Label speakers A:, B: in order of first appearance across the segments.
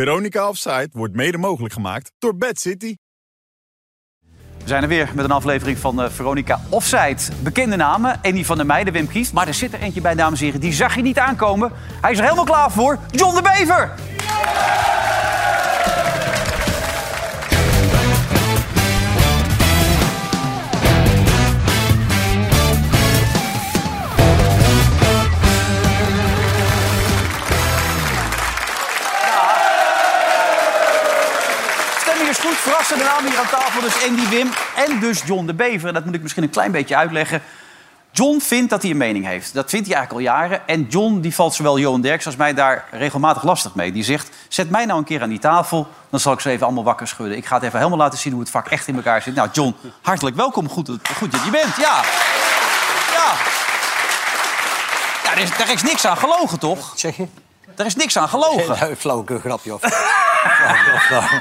A: Veronica Offside wordt mede mogelijk gemaakt door Bad City.
B: We zijn er weer met een aflevering van eh, Veronica Offside. Bekende namen, Andy van der Meijden, Wim Kieft. Maar er zit er eentje bij, dames en heren, die zag je niet aankomen. Hij is er helemaal klaar voor, John de Bever! Stemming is goed, verrassende namen hier aan tafel. Dus Andy, Wim en dus John de Bever. En dat moet ik misschien een klein beetje uitleggen. John vindt dat hij een mening heeft. Dat vindt hij eigenlijk al jaren. En John die valt zowel Johan Derks als mij daar regelmatig lastig mee. Die zegt, zet mij nou een keer aan die tafel. Dan zal ik ze even allemaal wakker schudden. Ik ga het even helemaal laten zien hoe het vak echt in elkaar zit. Nou, John, hartelijk welkom. Goed, dat- goed dat je bent. Ja. Ja. ja er is, daar is niks aan gelogen, toch?
C: Zeg je?
B: Daar is niks aan gelogen.
C: Een flauwekul grapje of... Flauwekul,
B: Nou
C: flauwekul.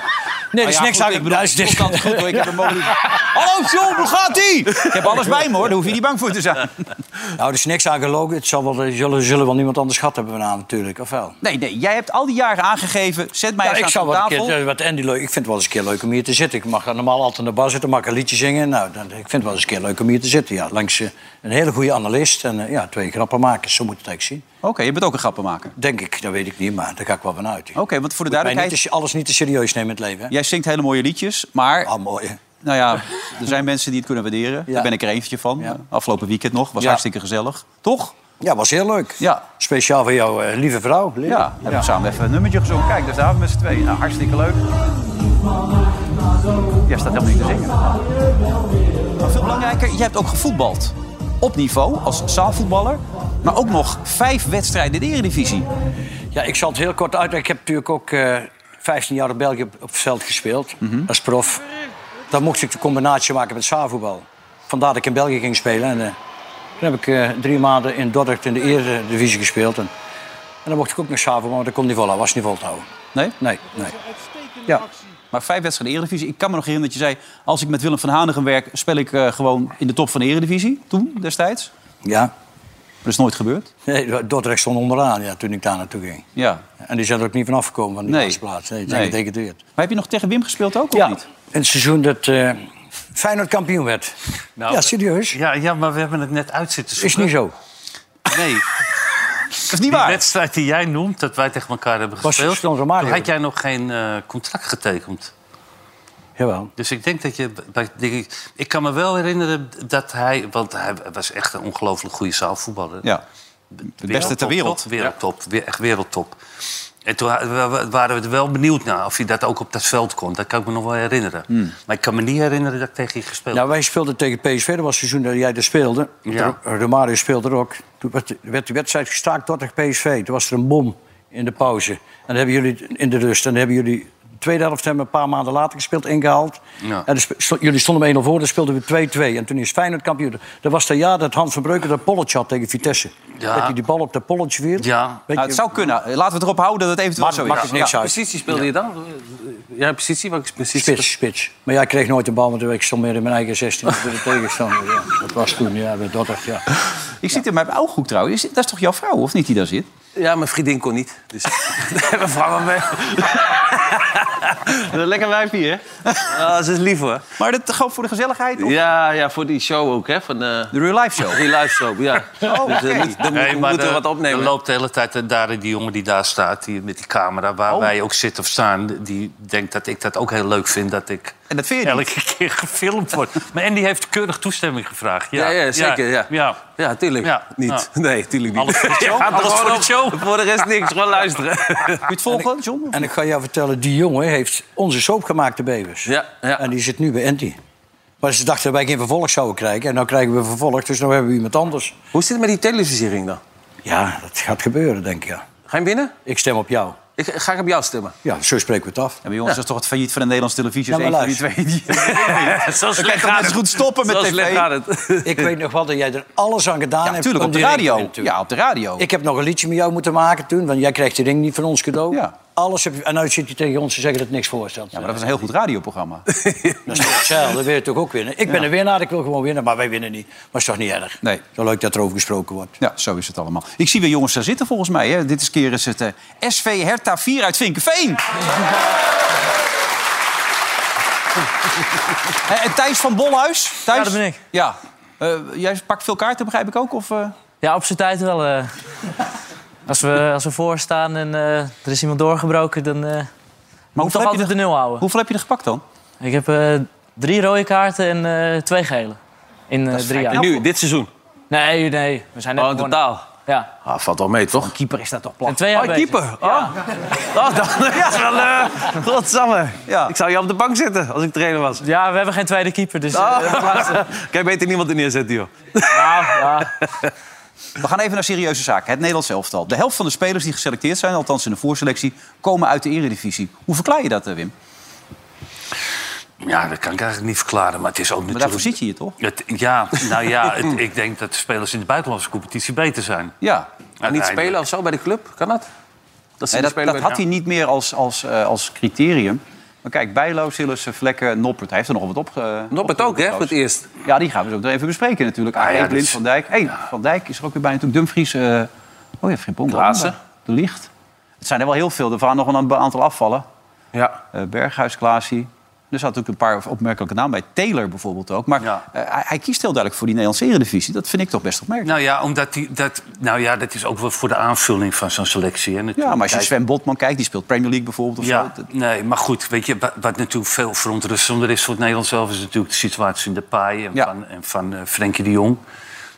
C: Nee, er is niks aan.
B: uit
C: Ik bedoel,
B: het komt altijd goed, hoor. Ik heb een mogelijk... Hallo, John, hoe gaat ie? Ik heb alles bij me, hoor. Daar hoef je niet bang voor te zijn.
C: Nou, er is niks aan gelogen. Het zal wel, er zullen, zullen wel niemand anders gehad hebben vanavond, natuurlijk. Of wel?
B: Nee, nee, jij hebt al die jaren aangegeven... zet mij
C: Ja,
B: eens
C: ik
B: aan
C: zou
B: zo'n
C: wat, een
B: tafel.
C: keer, eh, wat Andy leuk. Ik vind het wel eens een keer leuk om hier te zitten. Ik mag dan normaal altijd naar de bar zitten, mag ik een liedje zingen. Nou, dan, ik vind het wel eens een keer leuk om hier te zitten. Ja, langs eh, een hele goede analist en eh, ja, twee grappenmakers. Zo moet het eigenlijk zien.
B: Oké, je bent ook een grappenmaker.
C: Denk ik, dat weet ik niet, maar daar ga ik wel van uit.
B: Oké, want voor de
C: Maar niet
B: duidelijkheid...
C: te, alles niet te serieus nemen in het leven. Hè?
B: Jij zingt hele mooie liedjes, maar...
C: Ah, mooi. hè?
B: Nou ja, er zijn mensen die het kunnen waarderen.
C: Ja.
B: Daar ben ik er eentje van.
C: Ja.
B: Afgelopen weekend nog. Was
C: Ja.
B: hartstikke gezellig. Toch?
C: Ja, was heel leuk.
B: Ja.
C: Speciaal voor jouw eh, lieve vrouw. Lily.
B: Ja, hebben we samen even een nummertje gezongen. Kijk, daar staan we met z'n tweeën. Nou, hartstikke leuk. Jij staat helemaal niet te zingen. Maar veel belangrijker, je hebt ook gevoetbald. Op niveau, als zaalvoetballer. Maar ook nog vijf wedstrijden in de Eredivisie.
C: Ja, ik zal het heel kort uitleggen. Ik heb natuurlijk ook eh, 15 jaar in België op, op het veld gespeeld. Als prof. Dan mocht ik de combinatie maken met zaalvoetbal. Vandaar dat ik in België ging spelen. En, eh, toen heb ik eh, drie maanden in Dordrecht in de Eredivisie gespeeld. En, en dan mocht ik ook nog zaalvoetbal, maar dat kon niet volhouden. was niet vol te houden.
B: Nee?
C: Nee, nee. Ja.
B: Maar vijf wedstrijden in de Eredivisie. Ik kan me nog herinneren dat je zei... als ik met Willem van Hanegem werk, speel ik eh, gewoon in de top van de Eredivisie. Toen, destijds.
C: Ja.
B: Dat is nooit gebeurd.
C: Nee, Dordrecht stond onderaan ja, toen ik daar naartoe ging.
B: Ja.
C: En die zijn er ook niet vanaf gekomen van die
B: Nee.
C: laatste plaats. Nee,
B: Nee.
C: nee. dat het weer.
B: Maar heb je nog tegen Wim gespeeld ook, of niet?
C: In het seizoen dat eh Feyenoord kampioen werd.
D: Nou,
C: ja, serieus.
D: Ja, ja, maar we hebben het net uit zitten
C: Is
D: zoeken.
C: niet zo.
D: Nee,
B: Dat is niet
D: die
B: waar.
D: wedstrijd die jij noemt, dat wij tegen elkaar hebben
C: Was
D: gespeeld...
C: Stan
D: toen
C: Romario.
D: had jij nog geen eh, contract getekend.
C: Jawel.
D: Dus ik denk dat je... Bij, denk ik, ik kan me wel herinneren dat hij... Want hij was echt een ongelooflijk goede zaalvoetballer.
B: Ja. De beste ter wereld.
D: Top, wereldtop, weer- echt wereldtop. En toen wa- wa- waren we er wel benieuwd naar of hij dat ook op dat veld kon. Dat kan ik me nog wel herinneren.
B: Hmm.
D: Maar ik kan me niet herinneren dat ik tegen je gespeeld
C: Nou, wij speelden tegen PSV. Dat was het seizoen dat jij daar speelde.
D: Ja.
C: R- Romario speelde er ook. Toen werd, werd de wedstrijd gestaakt door tegen PSV. Toen was er een bom in de pauze. En dan hebben jullie in de rust. En dan hebben jullie de tweede helft hebben we een paar maanden later gespeeld, ingehaald.
D: Ja.
C: En dan spe- sto- jullie stonden met 1-0 voor, dan speelden we 2-2. En toen is Feyenoord kampioen. Dat was dat jaar dat Hans van Breuken dat polletje had tegen Vitesse.
D: Ja.
C: Dat hij die bal op dat polletje wierp.
D: Ja.
C: Weet
B: Nou,
C: je-
B: het zou kunnen. Laten we het erop houden dat het eventueel
C: Maakt-
B: zo is.
C: maakt het niks
B: Ja.
C: uit.
D: Positie speelde je dan? Ja, positie? Welke positie?
C: Spits, spits. Maar jij kreeg nooit een bal, want ik stond meer in mijn eigen 16 voor de tegenstander. Ja, dat was toen, ja, bij Dordrecht, ja.
B: Ik zit in mijn ooghoek trouwens. Is- Dat is toch jouw vrouw, of niet, die daar zit?
D: Ja, mijn vriendin kon niet. Dus we vangen mee.
E: Lekker wijfje, hè? Ah, ze is lief, hoor.
B: Maar dat gewoon voor de gezelligheid. of
E: Ja, ja, voor die show ook, hè? Van eh,
B: De real life show.
E: die live show, ja.
B: Oh,
E: Dus, eh,
B: oké.
E: niet- dan moet-
D: Nee,
E: we
D: maar
E: moeten
D: de-
E: wat opnemen.
D: Er loopt de hele tijd eh, daar die jongen die daar staat, die, met die camera, waar
B: Oh.
D: wij ook zitten of staan, die denkt dat ik dat ook heel leuk vind dat ik
B: En dat vind je niet?
D: elke keer gefilmd word. Maar Andy heeft keurig toestemming gevraagd. Ja,
E: ja, ja, zeker, ja.
D: ja.
E: Ja, tuurlijk.
D: Ja,
E: Niet. Nee, tuurlijk niet.
D: Alles voor de show.
E: Ja,
D: Alles
E: gewoon
D: voor de
E: op-
D: show.
E: Voor de rest niks, gewoon luisteren.
B: Kun je het volgen, John?
C: En ik ga jou vertellen, die jongen heeft onze soap gemaakt, de Bevers.
E: Ja, ja.
C: En die zit nu bij Andy. Maar ze dachten dat wij geen vervolg zouden krijgen. En nu krijgen we vervolg, dus nu hebben we iemand anders.
E: Hoe zit het met die televisiering dan?
C: Ja, Ah, dat gaat gebeuren, denk ik, ja.
E: Ga je binnen?
C: Ik stem op jou.
E: Ik, ga ik op jou stemmen?
C: Ja, zo spreken we het af.
B: Ja, maar jongens, dat is toch het failliet van de Nederlandse televisie?
C: Ja,
B: Als
C: maar
B: één van die twee die-
D: Zo
B: Dan kan
D: slecht
B: je toch net zo goed stoppen met
E: Zo
B: tv.
E: slecht
B: Ja,
E: gaat het.
C: Ik weet nog wel dat jij er alles aan gedaan hebt.
B: natuurlijk,
C: om
B: op de
C: die ring te
B: radio.
C: winnen toen.
B: Ja, op de radio.
C: Ik heb nog een liedje met jou moeten maken toen, want jij krijgt die ring niet van ons cadeau.
B: Ja.
C: Alles heb je, en nu zit je tegen ons te zeggen dat het niks voorstelt.
B: Ja, maar dat was een heel goed radioprogramma.
C: Dat is toch hetzelfde, dat wil je toch ook winnen? Ik ben een winnaar, ik wil gewoon winnen, maar wij winnen niet. Maar is toch niet erg?
B: Nee.
C: Zo leuk dat erover gesproken wordt.
B: Ja, zo is het allemaal. Ik zie weer jongens daar zitten volgens mij. Hè. Dit is keer is het eh, SV Herta 4 uit Vinkenveen. Hé, en Thijs van Bolhuis. Thijs?
F: Ja, dat ben ik.
B: Ja. Eh, jij pakt veel kaarten, begrijp ik ook? Of, eh?
F: Ja, op zijn tijd wel. eh. als, we, eh, als we voor staan en eh, er is iemand doorgebroken, dan eh
B: Maar
F: moet
B: heb
F: toch
B: je
F: altijd
B: er,
F: de nul houden.
B: hoeveel heb je er gepakt dan?
F: Ik heb eh, drie rode kaarten en eh, twee gele. In eh, drie jaar.
E: En nu, dit seizoen.
F: Nee, nee. We zijn net
E: Oh, in
F: begonnen.
E: totaal.
F: Ja.
E: Ah, valt wel mee, toch?
B: Keeper is dat toch
F: En
B: plat.
F: twee jaar
E: Oh,
F: bezig.
E: keeper. Oh. Oh, dat is wel... eh Godsamme.
B: Ja.
E: Ik zou je op de bank zetten als ik trainer was.
F: Ja, we hebben geen tweede keeper, dus... eh,
E: Oh. Kan je beter niemand er neerzetten, joh.
F: nou, ja.
B: We gaan even naar serieuze zaken. Het Nederlands elftal. De helft van de spelers die geselecteerd zijn, althans in de voorselectie, komen uit de eredivisie. Hoe verklaar je dat, eh, Wim?
D: Ja, dat kan ik eigenlijk niet verklaren, maar het is ook
B: Maar
D: natuurlijk...
B: daarvoor zit je hier toch?
D: Het, ja, nou ja, het- ik denk dat de spelers in de buitenlandse competitie beter zijn.
B: Ja.
E: En niet
D: Uiteindelijk.
E: spelen of zo bij de club, kan dat? Dat, ze
B: Nee,
E: niet
B: dat,
E: spelen
B: dat
E: bij de-
B: had hij niet meer als, als, eh, als criterium. Maar kijk, Bijlo, Sillissen, Vlekken, Noppert. Hij heeft er nog wat op. eh,
E: Noppert ook, hè, voor het
B: opgekozen.
E: eerst.
B: Ja, die gaan we zo meteen even bespreken natuurlijk. Ah,
D: ja, dat
B: Blind,
D: is-
B: Van Dijk. Hey, Van Dijk is er ook weer bij natuurlijk. Dumfries. eh, oh ja, Frimpong.
E: Klaassen.
B: De Licht. Het zijn er wel heel veel. Er waren nog wel een aantal afvallen.
E: Ja.
B: Eh, Berghuis, Klaasie. Er zaten natuurlijk een paar opmerkelijke namen bij. Taylor bijvoorbeeld ook. Maar
D: Ja.
B: eh, hij, hij kiest heel duidelijk voor die Nederlandse eredivisie. Dat vind ik toch best opmerkelijk.
D: Nou ja, omdat die, dat, nou ja, dat is ook wel voor de aanvulling van zo'n selectie. Hè, natuurlijk.
B: ja, maar als je
D: Kijk,
B: Sven Botman kijkt, die speelt Premier League bijvoorbeeld. Of
D: Ja,
B: zo. Dat-
D: nee, maar goed, weet je, wat, wat natuurlijk veel verontrustender is voor het Nederlands zelf... is natuurlijk de situatie in de paai en
B: Ja.
D: van, en van eh, Frenkie de Jong.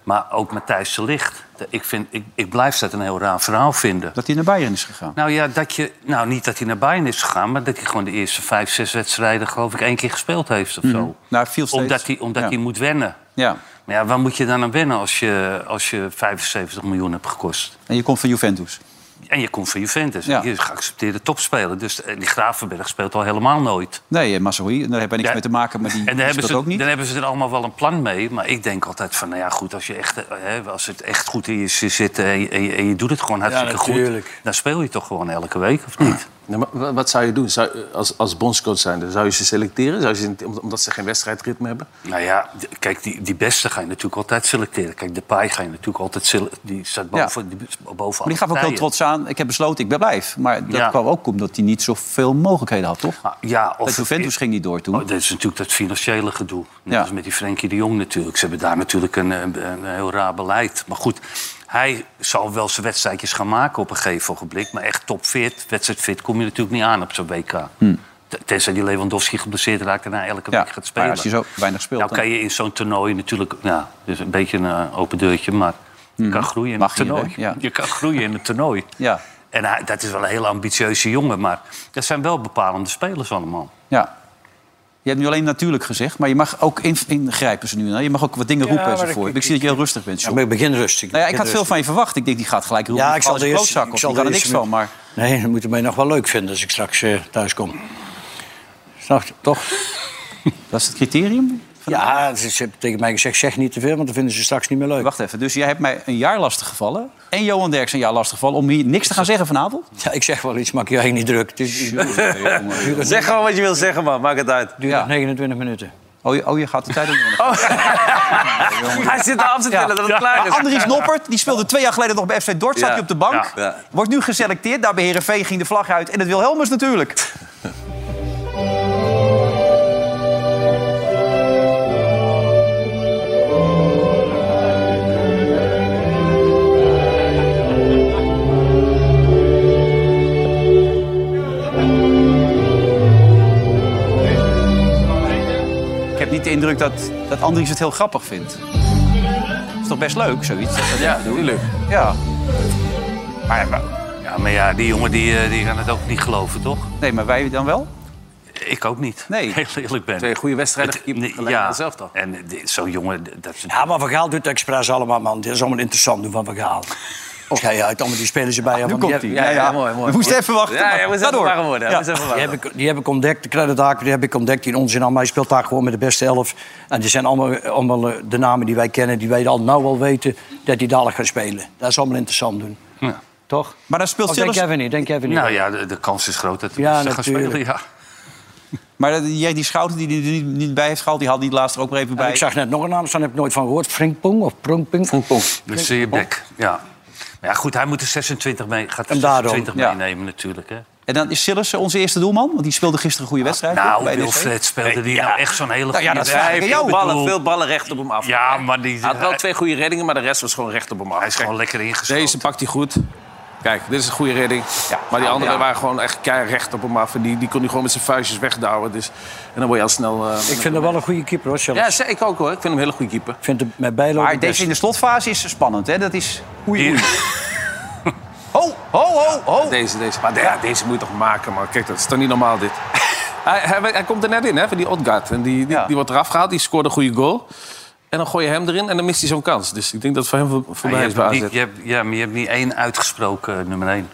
D: Maar ook Matthijs de Ligt. Ik, vind, ik, ik blijf dat een heel raar verhaal vinden.
B: Dat hij naar Bayern is gegaan.
D: Nou ja, dat je, nou niet dat hij naar Bayern is gegaan... maar dat hij gewoon de eerste vijf, zes wedstrijden geloof ik één keer gespeeld heeft of zo.
B: Nou, hij viel steeds.
D: Omdat hij, omdat
B: Ja.
D: hij moet wennen.
B: Ja.
D: Maar ja, waar moet je dan aan wennen als je, als je 75 miljoen hebt gekost?
B: En je komt van Juventus.
D: En je komt van Juventus.
B: Ja.
D: en Je is geaccepteerde topspeler. Dus eh, die Gravenberg speelt al helemaal nooit.
B: Nee, eh, Masraoui, daar heb ik niks
D: Ja.
B: mee te maken, maar die,
D: En
B: die
D: daar hebben,
B: speelt
D: ze,
B: ook niet.
D: dan hebben ze er allemaal wel een plan mee. Maar ik denk altijd van, nou ja, goed, als, je echt, eh, hè, als het echt goed in je zit zitten... en je, en je- en je doet het gewoon hartstikke goed...
C: natuurlijk.
D: dan speel je toch gewoon elke week, of niet?
E: Nee, Ah. maar wa- wat zou je doen zou, als, als bondscoach zijnde? Zou je ze selecteren? Zou je ze, om- omdat ze geen wedstrijdritme hebben?
D: Nou ja, d- kijk, die, die beste ga je natuurlijk altijd selecteren. Kijk, de paai ga je natuurlijk altijd selecteren. Die staat boven, die, is boven
B: Maar die gaf ook heel trots aan, ik heb besloten, ik ben blijf. Maar dat
D: Ja. Ah.
B: kwam ook omdat hij niet zoveel mogelijkheden had, toch?
D: Ja, of
B: Dat Juventus ging niet door toen.
D: Oh, dat is natuurlijk dat financiële gedoe. Net
B: Ja.
D: als met die Frenkie de Jong natuurlijk. Ze hebben daar natuurlijk een, een, een heel raar beleid. Maar goed, hij zal wel zijn wedstrijdjes gaan maken op een gegeven ogenblik. Maar echt topfit, wedstrijdfit, kom je natuurlijk niet aan op zo'n WK.
E: Hm.
D: T- Tenzij die Lewandowski geblesseerd raakt en hij elke
B: ja,
D: week gaat
B: maar
D: spelen.
B: als je zo weinig speelt,
D: nou
B: dan
D: kan je in zo'n toernooi natuurlijk... Nou, dus een beetje een eh, open deurtje, maar je kan groeien in
B: Mhm. Mag
D: het
B: hier,
D: toernooi.
B: hè? Ja.
D: Je kan groeien in het toernooi.
B: Ja.
D: En hij- dat is wel een hele ambitieuze jongen. Maar dat zijn wel bepalende spelers allemaal.
B: Ja. Je hebt nu alleen natuurlijk gezegd, maar je mag ook in- ingrijpen ze nu. hè? Je mag ook wat dingen roepen
C: maar
B: enzovoort.
C: ik-
B: Ik, zie dat je heel rustig bent,
C: Ja,
B: John.
C: maar ik begin rustig.
B: nou ja, ik
C: begin
B: had veel
C: rustig.
B: van je verwacht. Ik denk, die gaat gelijk roepen.
C: Ja, ik zal
B: alles
C: de eerste-
B: klootzak
C: ik
B: op.
C: zal
B: Ik kan
C: de
B: er niks
C: eerste
B: van, maar...
C: Nee, dan moeten mij nog wel leuk vinden als ik straks eh, thuis kom. Snap je? Toch?
B: Dat is het criterium?
C: Ja, ze ze hebben tegen mij gezegd, zeg niet te veel, want dan vinden ze straks niet meer leuk.
B: Wacht even, dus jij hebt mij een jaar lastig gevallen... en Johan Derks een jaar lastig gevallen... om hier niks te gaan zeggen vanavond?
C: Ja, ik zeg wel iets, maak je eigenlijk niet druk. Het is
E: Zeg gewoon wat je wil zeggen, man. Maak het uit.
C: duurt
B: Ja.
C: nog 29 minuten.
B: Oh, je, oh, je gaat de tijd ook nog aan.
E: Hij zit daar af te tellen dat het klaar
B: Maar
E: is.
B: Andries Noppert, die speelde twee jaar geleden nog bij FC Dort. Zat
E: Ja,
B: hij op de bank.
E: ja, ja.
B: eh, Wordt nu geselecteerd. Daar bij Heerenveen ging de vlag uit. En het Wilhelmus natuurlijk. Ik heb niet de indruk dat, dat Andries het heel grappig vindt. Dat is toch best leuk, zoiets?
E: Ja, tuurlijk.
B: Ja.
D: Maar, ja, maar- ja, maar ja, die jongen die, eh, die gaan het ook niet geloven, toch?
B: Nee, maar wij dan wel?
D: Ik ook niet.
B: Nee.
D: Heel eerlijk ben.
E: Twee goede wedstrijden
D: Het-
E: gekiept,
D: nee,
E: gelijk aan hetzelfde al.
D: En eh, dit- zo'n jongen, d- dat is
C: Ja, maar Van Gaal doet het expres allemaal, man. Dit is allemaal interessant doen van Van Gaal. Dus ga je uit, allemaal die spelers erbij.
B: Nu
C: allemaal
B: komt
C: die,
B: hij.
C: heb-
E: ja, ja, mooi, mooi.
B: We moesten even wachten.
E: Ja,
B: maar
E: ja, we
B: ga
E: zijn
B: door.
E: warm worden.
B: Ja.
E: We zijn
C: Die
E: warm.
C: heb, ik, die heb ik ontdekt, de credithaken die heb ik ontdekt, die in onzin allemaal. Hij speelt daar gewoon met de beste elf. En die zijn allemaal, allemaal eh, de namen die wij kennen, die wij al nou al weten, dat die dadelijk gaan spelen. Dat is allemaal interessant doen.
D: Ja.
C: Toch?
B: Maar dan speelt
C: Of denk
B: Sillis...
C: jij weer niet? Denk jij weer niet?
D: Nou ja, de, de kans is groot dat hij
C: Ja,
D: ja, gaat
C: natuurlijk.
D: spelen. Ja.
B: Maar dat- die, die schouder die hij er niet, niet bij heeft gehaald... die had die laatst er ook maar even bij.
C: Ik zag net nog een naam staan, heb ik nooit van gehoord. Frinkpong of Prongpong.
D: Dus zie je bek. Ja. Maar ja, goed, hij moet er 26 mee, gaat er
C: En daarom,
D: 26
B: ja.
D: meenemen natuurlijk. Hè.
B: En dan is Sillis onze eerste doelman. Want die speelde gisteren een goede wedstrijd.
D: Nou,
B: toch, bij NEC?
D: Wilfred speelde die nou echt zo'n hele
B: Nou ja,
D: goede
B: dat vraag ik aan
D: wedstrijd.
B: jou.
D: Ik bedoel-
E: Ballen, veel ballen recht op hem af.
D: Ja, maar die,
E: Hij had wel
D: hij,
E: twee goede reddingen, maar de rest was gewoon recht op hem af.
D: hij is gewoon lekker ingeschoten.
E: Deze pakt hij goed. Kijk, dit is een goede redding. maar die anderen waren gewoon echt keihard recht op hem af. En die, die kon hij gewoon met zijn vuistjes wegdouwen. Dus, en dan word je al snel... eh,
C: Ik vind hem wel een goede keeper hoor, Sillis.
E: Ja, ze- ik ook hoor. Ik vind hem een hele goede keeper.
C: Ik vind hem met Bijlo de
B: Maar deze
C: beste.
B: in de slotfase is spannend, hè? Dat is... Oei, oei.
D: Die-
B: Ho, ho, ho, ho.
E: Deze, deze. Maar de- ja, deze moet je toch maken, man. Kijk, dat is toch niet normaal, dit. hij, hij, hij komt er net in, hè, van die Odgaard. En die, die,
B: Ja.
E: die wordt eraf gehaald, die scoort een goede goal. En dan gooi je hem erin en dan mist hij zo'n kans. Dus ik denk dat het voor hem voor-
D: Ja,
E: voorbij
D: je
E: is
D: hebt
E: bij AZ.
D: niet- je hebt- ja, maar je hebt niet één uitgesproken eh, nummer één.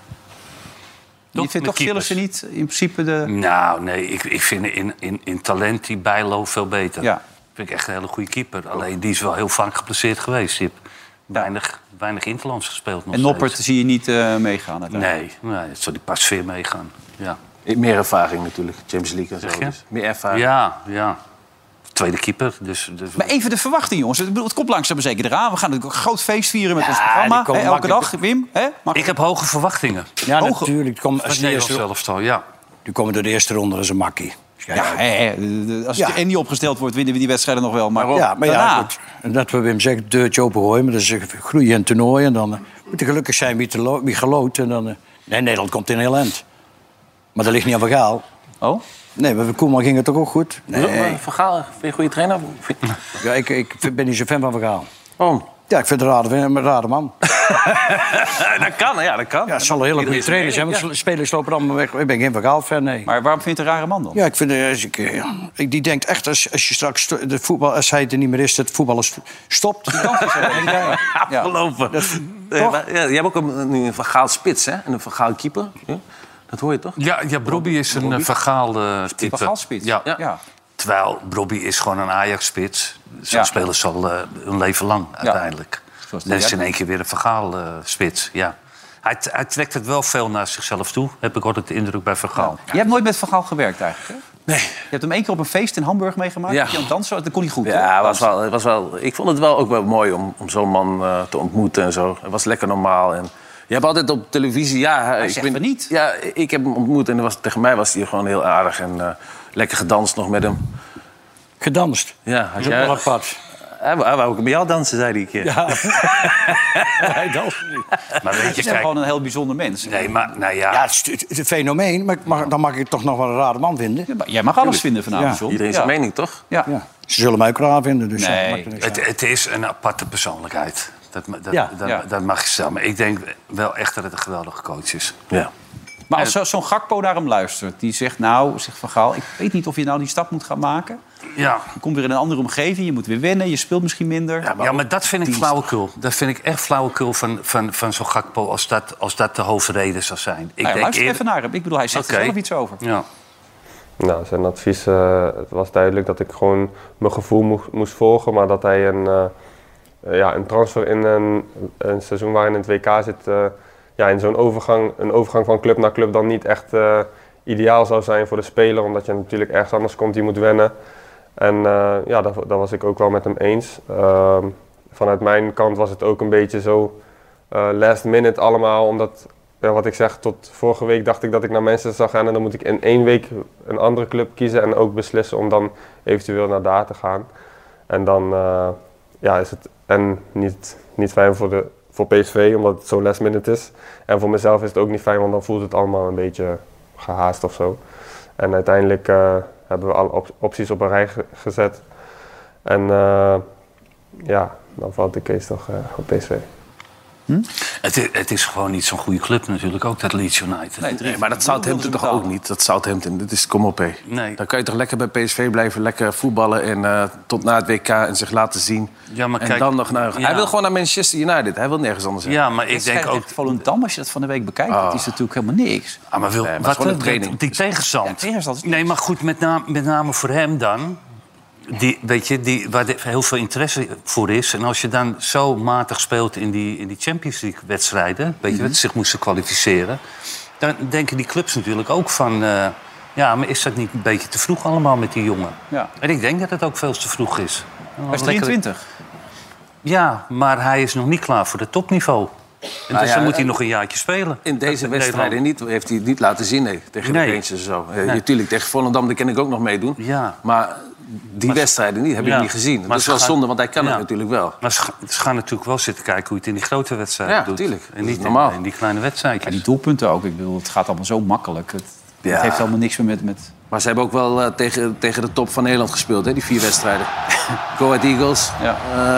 B: Je vindt toch
D: Met keepers.
B: Sillissen niet in principe de...
D: Nou, nee, ik, ik vind in, in, in talent die Bijlo veel beter.
B: Ja.
D: Vind ik echt een hele goede keeper. Alleen die is wel heel vaak geblesseerd geweest. Die heeft weinig, weinig interlands gespeeld nog
B: En Noppert
D: steeds.
B: zie je niet eh, meegaan. uiteindelijk.
D: Nee, nee, het zou die pas weer meegaan. Ja.
E: Meer ervaring natuurlijk. Champions League en zo.
D: Zeg je?
E: dus meer ervaring.
D: ja, ja. Tweede keeper. Dus, dus...
B: Maar even de verwachting, jongens. Ik bedoel, het komt langzaam maar zeker eraan. We gaan natuurlijk een groot feest vieren met ons
C: die
B: programma.
C: komen
B: hè, elke
C: makkelijk-
B: dag, Wim. Hè? Mag-
D: Ik heb hoge verwachtingen.
C: Ja,
B: Hoge-
C: natuurlijk. Die komen,
D: Als
C: als de
D: Nederlands
C: eerste,
D: elftal, ja.
C: die komen door de eerste ronde, dat is een makkie.
B: Oh, Ja, hè, hè, eh, als
C: Ja.
B: en Andy opgesteld wordt, winnen we die wedstrijden nog wel. Maar,
C: Ja, maar ja,
B: daarna,
C: goed. En dat we Wim zeggen, deurtje opengooien. Maar dat is eh, groeien en toernooi. En dan eh, moet je gelukkig zijn wie, te lo- wie geloot. En dan, eh, nee, Nederland komt in heel eind. Maar dat ligt niet aan verhaal.
B: Oh?
C: Nee, maar met Koeman ging het toch ook goed? Nee.
E: Van Gaal, vind je een goede trainer?
C: Ja, ik, ik vind- ben niet zo fan van verhaal.
E: Oh.
C: Ja, ik vind het een rare- een rare man.
E: dat kan, hè, ja, dat kan.
C: Ja, het zal een hele goede trainer zijn. Want de spelers lopen allemaal weg. Ik ben geen verhaal fan, nee.
B: Maar waarom vindt een rare man dan?
C: Ja, ik vind... eh, als ik, eh, ja. Ik- Die denkt echt, als, als je straks sto- de voetbal, als hij er niet meer is, dat voetballen st- stopt.
E: Afgelopen. Nee, maar, ja, je hebt ook een, nu een Van Gaal spits hè? en een Van Gaal keeper. Ja? Dat hoor je toch?
D: Ja, ja Brobby is een eh, vergaal eh, type.
B: Gaalspits.
D: Ja.
B: Ja.
D: Terwijl Brobby is gewoon een Ajax-spits. Zo'n
B: Ja.
D: spelers zal eh, hun leven lang uiteindelijk.
B: Zoals
D: Dan is
B: die-
D: in één keer weer een Vergaal-spits. ja. hij, t- hij trekt het wel veel naar zichzelf toe. Heb ik altijd de indruk bij Vergaal.
B: Je hebt nooit met Van Gaal gewerkt eigenlijk, hè?
E: Nee.
B: Je hebt hem één keer op een feest in Hamburg meegemaakt.
E: Ja.
B: Ja. Jan Dansen, dat kon hij goed. hè?
E: Ja, was wel, het was wel, ik vond het wel ook wel mooi om, om zo'n man eh, te ontmoeten en zo. Het was lekker normaal. En je hebt altijd op televisie, ja... Hij ik
B: zegt van niet.
E: Ja, ik heb hem ontmoet en er was, tegen mij was hij gewoon heel aardig. En eh, lekker gedanst nog met hem.
C: Gedanst.
E: Ja, had
C: Dat is ook
E: jij-
C: wel apart.
E: hij, wou- hij wou ook met jou dansen, zei hij een keer.
C: Ja. Hij danst niet.
D: Maar weet je,
B: Hij is
D: kijk...
B: gewoon een heel bijzonder mens.
D: Nee, maar nou ja...
C: Ja, het is, het is een fenomeen, maar ik mag, dan mag ik het toch nog wel een rare man vinden.
B: Ja, maar Jij mag alles vinden vanavond,
C: Ja.
B: John.
E: Iedereen zijn mening, toch?
B: Ja. Ja.
C: Ja. Ze zullen mij ook raar vinden, dus
B: Nee.
C: ja, maakt er niks uit.
D: Het, het is een aparte persoonlijkheid. Dat, ma- dat,
C: Ja,
D: dat,
B: ja.
D: dat mag je stellen. Maar ik denk wel echt dat het een geweldige coach is.
E: Ja.
B: Maar als zo- zo'n Gakpo naar hem luistert, die zegt... nou, zegt Van Gaal, ik weet niet of je nou die stap moet gaan maken.
D: Ja,
B: Je komt weer in een andere omgeving, je moet weer wennen, je speelt misschien minder.
D: Ja, maar, dat vind ik flauwekul. Dat vind ik echt flauwekul van, van, van zo'n Gakpo als dat, als dat de hoofdreden zou zijn. Ik
B: Nou ja, luister
D: eerder-
B: even naar hem. Ik bedoel, hij zegt
D: Oké.
B: er zelf iets over.
D: Ja.
G: Nou, zijn advies, eh, het was duidelijk dat ik gewoon mijn gevoel moest, moest volgen, maar dat hij een, eh, eh, ja, een transfer in een, een seizoen waarin het WK zit, eh, ja, in zo'n overgang, een overgang van club naar club dan niet echt eh, ideaal zou zijn voor de speler, omdat je natuurlijk ergens anders komt, die moet wennen. En eh, ja, daar, daar was ik ook wel met hem eens. Ehm, vanuit mijn kant was het ook een beetje zo eh, last minute allemaal, omdat ja, wat ik zeg, tot vorige week dacht ik dat ik naar Manchester zou gaan en dan moet ik in één week een andere club kiezen en ook beslissen om dan eventueel naar daar te gaan. En dan eh, ja, is het en niet, niet fijn voor, de, voor PSV, omdat het zo last minute is. En voor mezelf is het ook niet fijn, want dan voelt het allemaal een beetje gehaast of zo. En uiteindelijk eh, hebben we alle op- opties op een rij ge- gezet. En eh, ja, dan valt de case toch eh, op PSV.
D: Het, i- het is gewoon niet zo'n goede club natuurlijk, ook dat Leeds United.
B: Nee, drie-
E: Nee, maar dat Southampton toch ook niet? Dat Southampton, dit is kom op hé.
D: Nee.
E: Dan kan je toch lekker bij PSV blijven, lekker voetballen en eh, tot na het WK en zich laten zien.
D: Ja, maar
E: en
D: kijk-
E: dan nog naar.
D: Ja.
E: Hij wil gewoon naar Manchester United. Hij wil nergens anders heen. Ah.
D: Ja, maar
B: Ik
D: ik denk ook...
B: Volendam, als je dat van de week bekijkt, dat is natuurlijk helemaal niks.
D: Ah, maar wil,
E: maar het is
D: wat
E: gewoon
D: dan?
E: een training.
D: Die tegenstand.
B: Ja, tegenstand is
D: nee, maar goed, met, naam- met name voor hem dan. die, weet je, die, waar de- heel veel interesse voor is. En als je dan zo matig speelt in die, in die Champions League-wedstrijden... weet je, dat ze zich moesten kwalificeren... dan denken die clubs natuurlijk ook van... eh, ja, maar is dat niet een beetje te vroeg allemaal met die jongen?
B: Ja.
D: En ik denk dat het ook veel te vroeg is.
B: Hij is
D: Lekker-
B: 23.
D: Ja, maar hij is nog niet klaar voor het topniveau. En dus
E: Nou ja,
D: dan moet hij
E: en-
D: nog een jaartje spelen.
E: In deze
D: Met
E: wedstrijden
D: Nederland.
E: niet, heeft hij het niet laten zien nee, tegen
D: Nee.
E: de Rangers en zo. Eh, Natuurlijk, tegen Volendam daar kan ik ook nog meedoen.
D: Ja.
E: Maar die wedstrijden niet, heb ik
D: Ja.
E: niet gezien.
D: Maar
E: dat is
D: ze
E: wel
D: gaan-
E: zonde, want hij kan
D: Ja.
E: het natuurlijk wel.
D: Maar ze, ga- ze gaan natuurlijk wel zitten kijken hoe je het in die grote wedstrijden
E: Ja,
D: doet.
E: tuurlijk. Dat
D: En
E: is
D: niet
E: normaal.
D: In, in die kleine wedstrijdjes.
B: Ja, die doelpunten ook. Ik bedoel, het gaat allemaal zo makkelijk. Het, het
E: Ja.
B: heeft helemaal niks meer met... met...
E: Maar ze hebben ook wel eh, tegen, tegen de top van Nederland gespeeld, hè, die vier wedstrijden. Go Ahead Eagles,
B: Ja.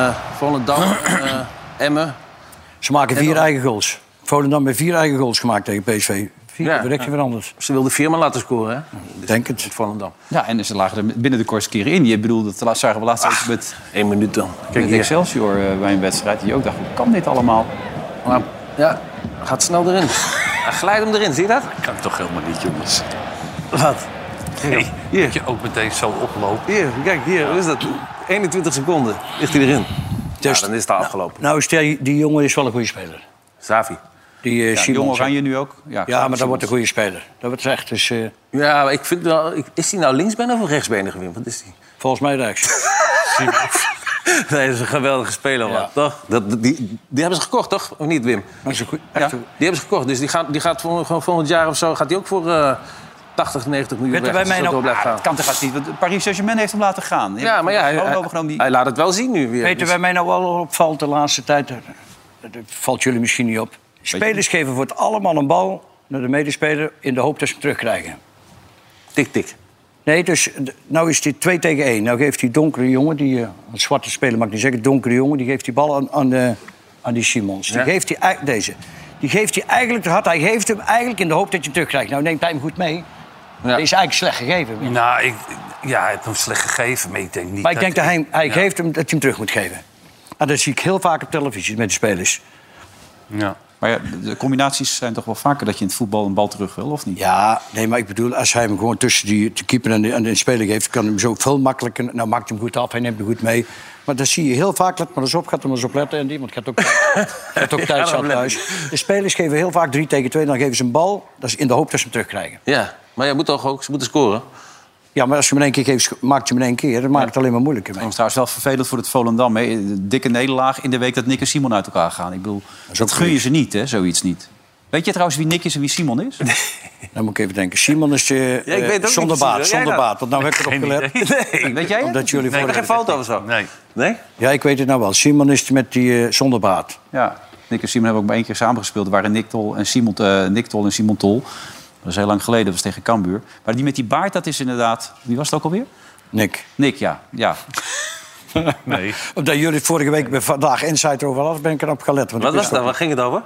E: eh, Volendam, eh, Emmen.
C: Ze maken
E: En
C: vier
E: dan-
C: eigen goals. Volendam heeft vier eigen goals gemaakt tegen PSV. Vier,
E: Ja.
C: ja. direct weer anders.
E: Ze wilden vier maar laten scoren, hè? Dus
C: Ik denk het.
E: Met Volendam.
B: Ja, en ze lagen er binnen de kortste keren in. Je bedoelde, dat la- zagen we laatst ook met,
E: Eén Ah, minuut dan. Kijk
B: met
E: hier.
B: Excelsior eh, bij een wedstrijd. Die ook dacht, hoe kan dit allemaal?
E: Maar, ja, gaat snel erin. Hij glijdt hem erin, zie je dat?
D: Dat kan toch helemaal niet, jongens.
E: Wat?
D: Nee,
E: Hier.
D: dat je ook meteen zo oploopt.
E: Hier, kijk, hier, hoe is dat? 21 seconden ligt hij erin. Dus dan is het al afgelopen.
C: Nou, is die, die jongen is wel een goede speler.
E: Savi.
C: Die eh,
B: Ja,
C: Simons.
B: jong Oranje nu ook. Ja,
C: Ja, maar dat
B: Simons.
C: wordt een goede speler. Dat wordt echt. Dus eh,
E: Ja, maar ik vind wel... ik- Is hij nou linksbenen of rechtsbenen Wim? Wat is hij?
C: volgens mij rechts.
E: Nee, dat is een geweldige speler, man.
C: Ja.
E: Toch? Dat, die, die hebben ze gekocht, toch? Of niet, Wim?
C: Maar is een goeie-
E: Ja.
C: echt
E: Die
C: een-
E: hebben ze gekocht. Dus die gaat, die gaat vol- gewoon volgend jaar of zo... gaat hij ook voor eh 80, 90 miljoen
C: Werd er
E: weg.
C: bij
E: als
C: mij nou-
E: het zo door blijft
B: Ah,
E: gaan.
B: dat kan toch haast niet? Want Paris Saint-Germain heeft hem laten gaan. Die
E: Ja,
B: hebben
E: maar ja,
B: hem
E: hij,
B: gewoon
E: hij-
B: overgenomen die...
E: hij laat het wel zien nu weer.
C: Weet je
E: Dus-
C: waar mij nou wel opvalt de laatste tijd? Dat dat valt jullie misschien niet op.
B: je-
C: Spelers geven voor het allemaal een bal naar de medespeler in de hoop dat ze hem terugkrijgen.
E: Tik, tik.
C: Nee, dus d- nou is dit 2 tegen 1. Nou geeft die donkere jongen, die, eh, een zwarte speler mag ik niet zeggen, donkere jongen, die geeft die bal aan, aan, de, aan die Simons. Die
E: Ja.
C: geeft die, ei- deze. Die geeft hij eigenlijk te hard. Hij geeft hem eigenlijk in de hoop dat je hem terugkrijgt. Nou neemt hij hem goed mee. Dat is eigenlijk slecht gegeven.
D: Nou, ik, ja, hij heeft hem slecht gegeven, maar ik denk niet
C: Maar ik denk dat hij, hij
D: Ja.
C: geeft hem, dat hij hem terug moet geven. En dat zie ik heel vaak op televisie met de spelers.
D: Ja.
B: Maar ja, de- de combinaties zijn toch wel vaker dat je in het voetbal een bal terug wil, of niet?
C: Ja, nee, maar ik bedoel, als hij hem gewoon tussen die, de keeper en de, en de speler geeft... kan hij hem zo veel makkelijker... Nou, maakt hem goed af, hij neemt hem goed mee. Maar dat zie je heel vaak. Let maar eens op, gaat er maar eens op letten. En iemand gaat ook, gaat ook thuis, zat thuis. De spelers geven heel vaak drie tegen twee. Dan geven ze een bal dat is in de hoop dat ze hem terugkrijgen.
E: Ja, maar jij moet toch ook... Ze moeten scoren.
C: Ja, maar als je hem in één keer geeft, sch- maakt je hem in één keer. Dan maakt het alleen maar moeilijker mee.
B: Dat is trouwens wel vervelend voor het Volendam. Hè. Dikke nederlaag in de week dat Nick en Simon uit elkaar gaan. Ik bedoel, dat, gun je ze niet, hè, zoiets niet. Weet je trouwens wie Nick is en wie Simon is?
C: Dan moet ik even denken. Simon is eh,
E: weet
C: eh,
E: ook niet
C: zonder
E: precies, hoor.
C: baat,
E: Jij
C: zonder
E: nou?
C: baat. Want nou heb ik erop gelet.
E: Nee.
B: Weet jij het?
C: Omdat jullie
E: Nee,
C: vorige...
E: geen foto of zo?
D: Nee.
E: Nee?
C: Ja, ik weet het nou wel. Simon is met die eh, zonder baat.
B: Ja, Nick en Simon hebben ook maar één keer samengespeeld. Er waren Nick Tol en Simon, eh, Nick Tol en Simon Tol. Dat is heel lang geleden, dat was tegen Cambuur. Maar die met die baard, dat is inderdaad... Wie was het ook alweer?
C: Nick.
B: Nick, ja. ja.
D: nee.
C: Omdat jullie het vorige week bij Vandaag Insight over hadden, ben ik erop gelet. Want
E: Wat
C: ik
E: was
C: wist
E: dat? Waar ging het over?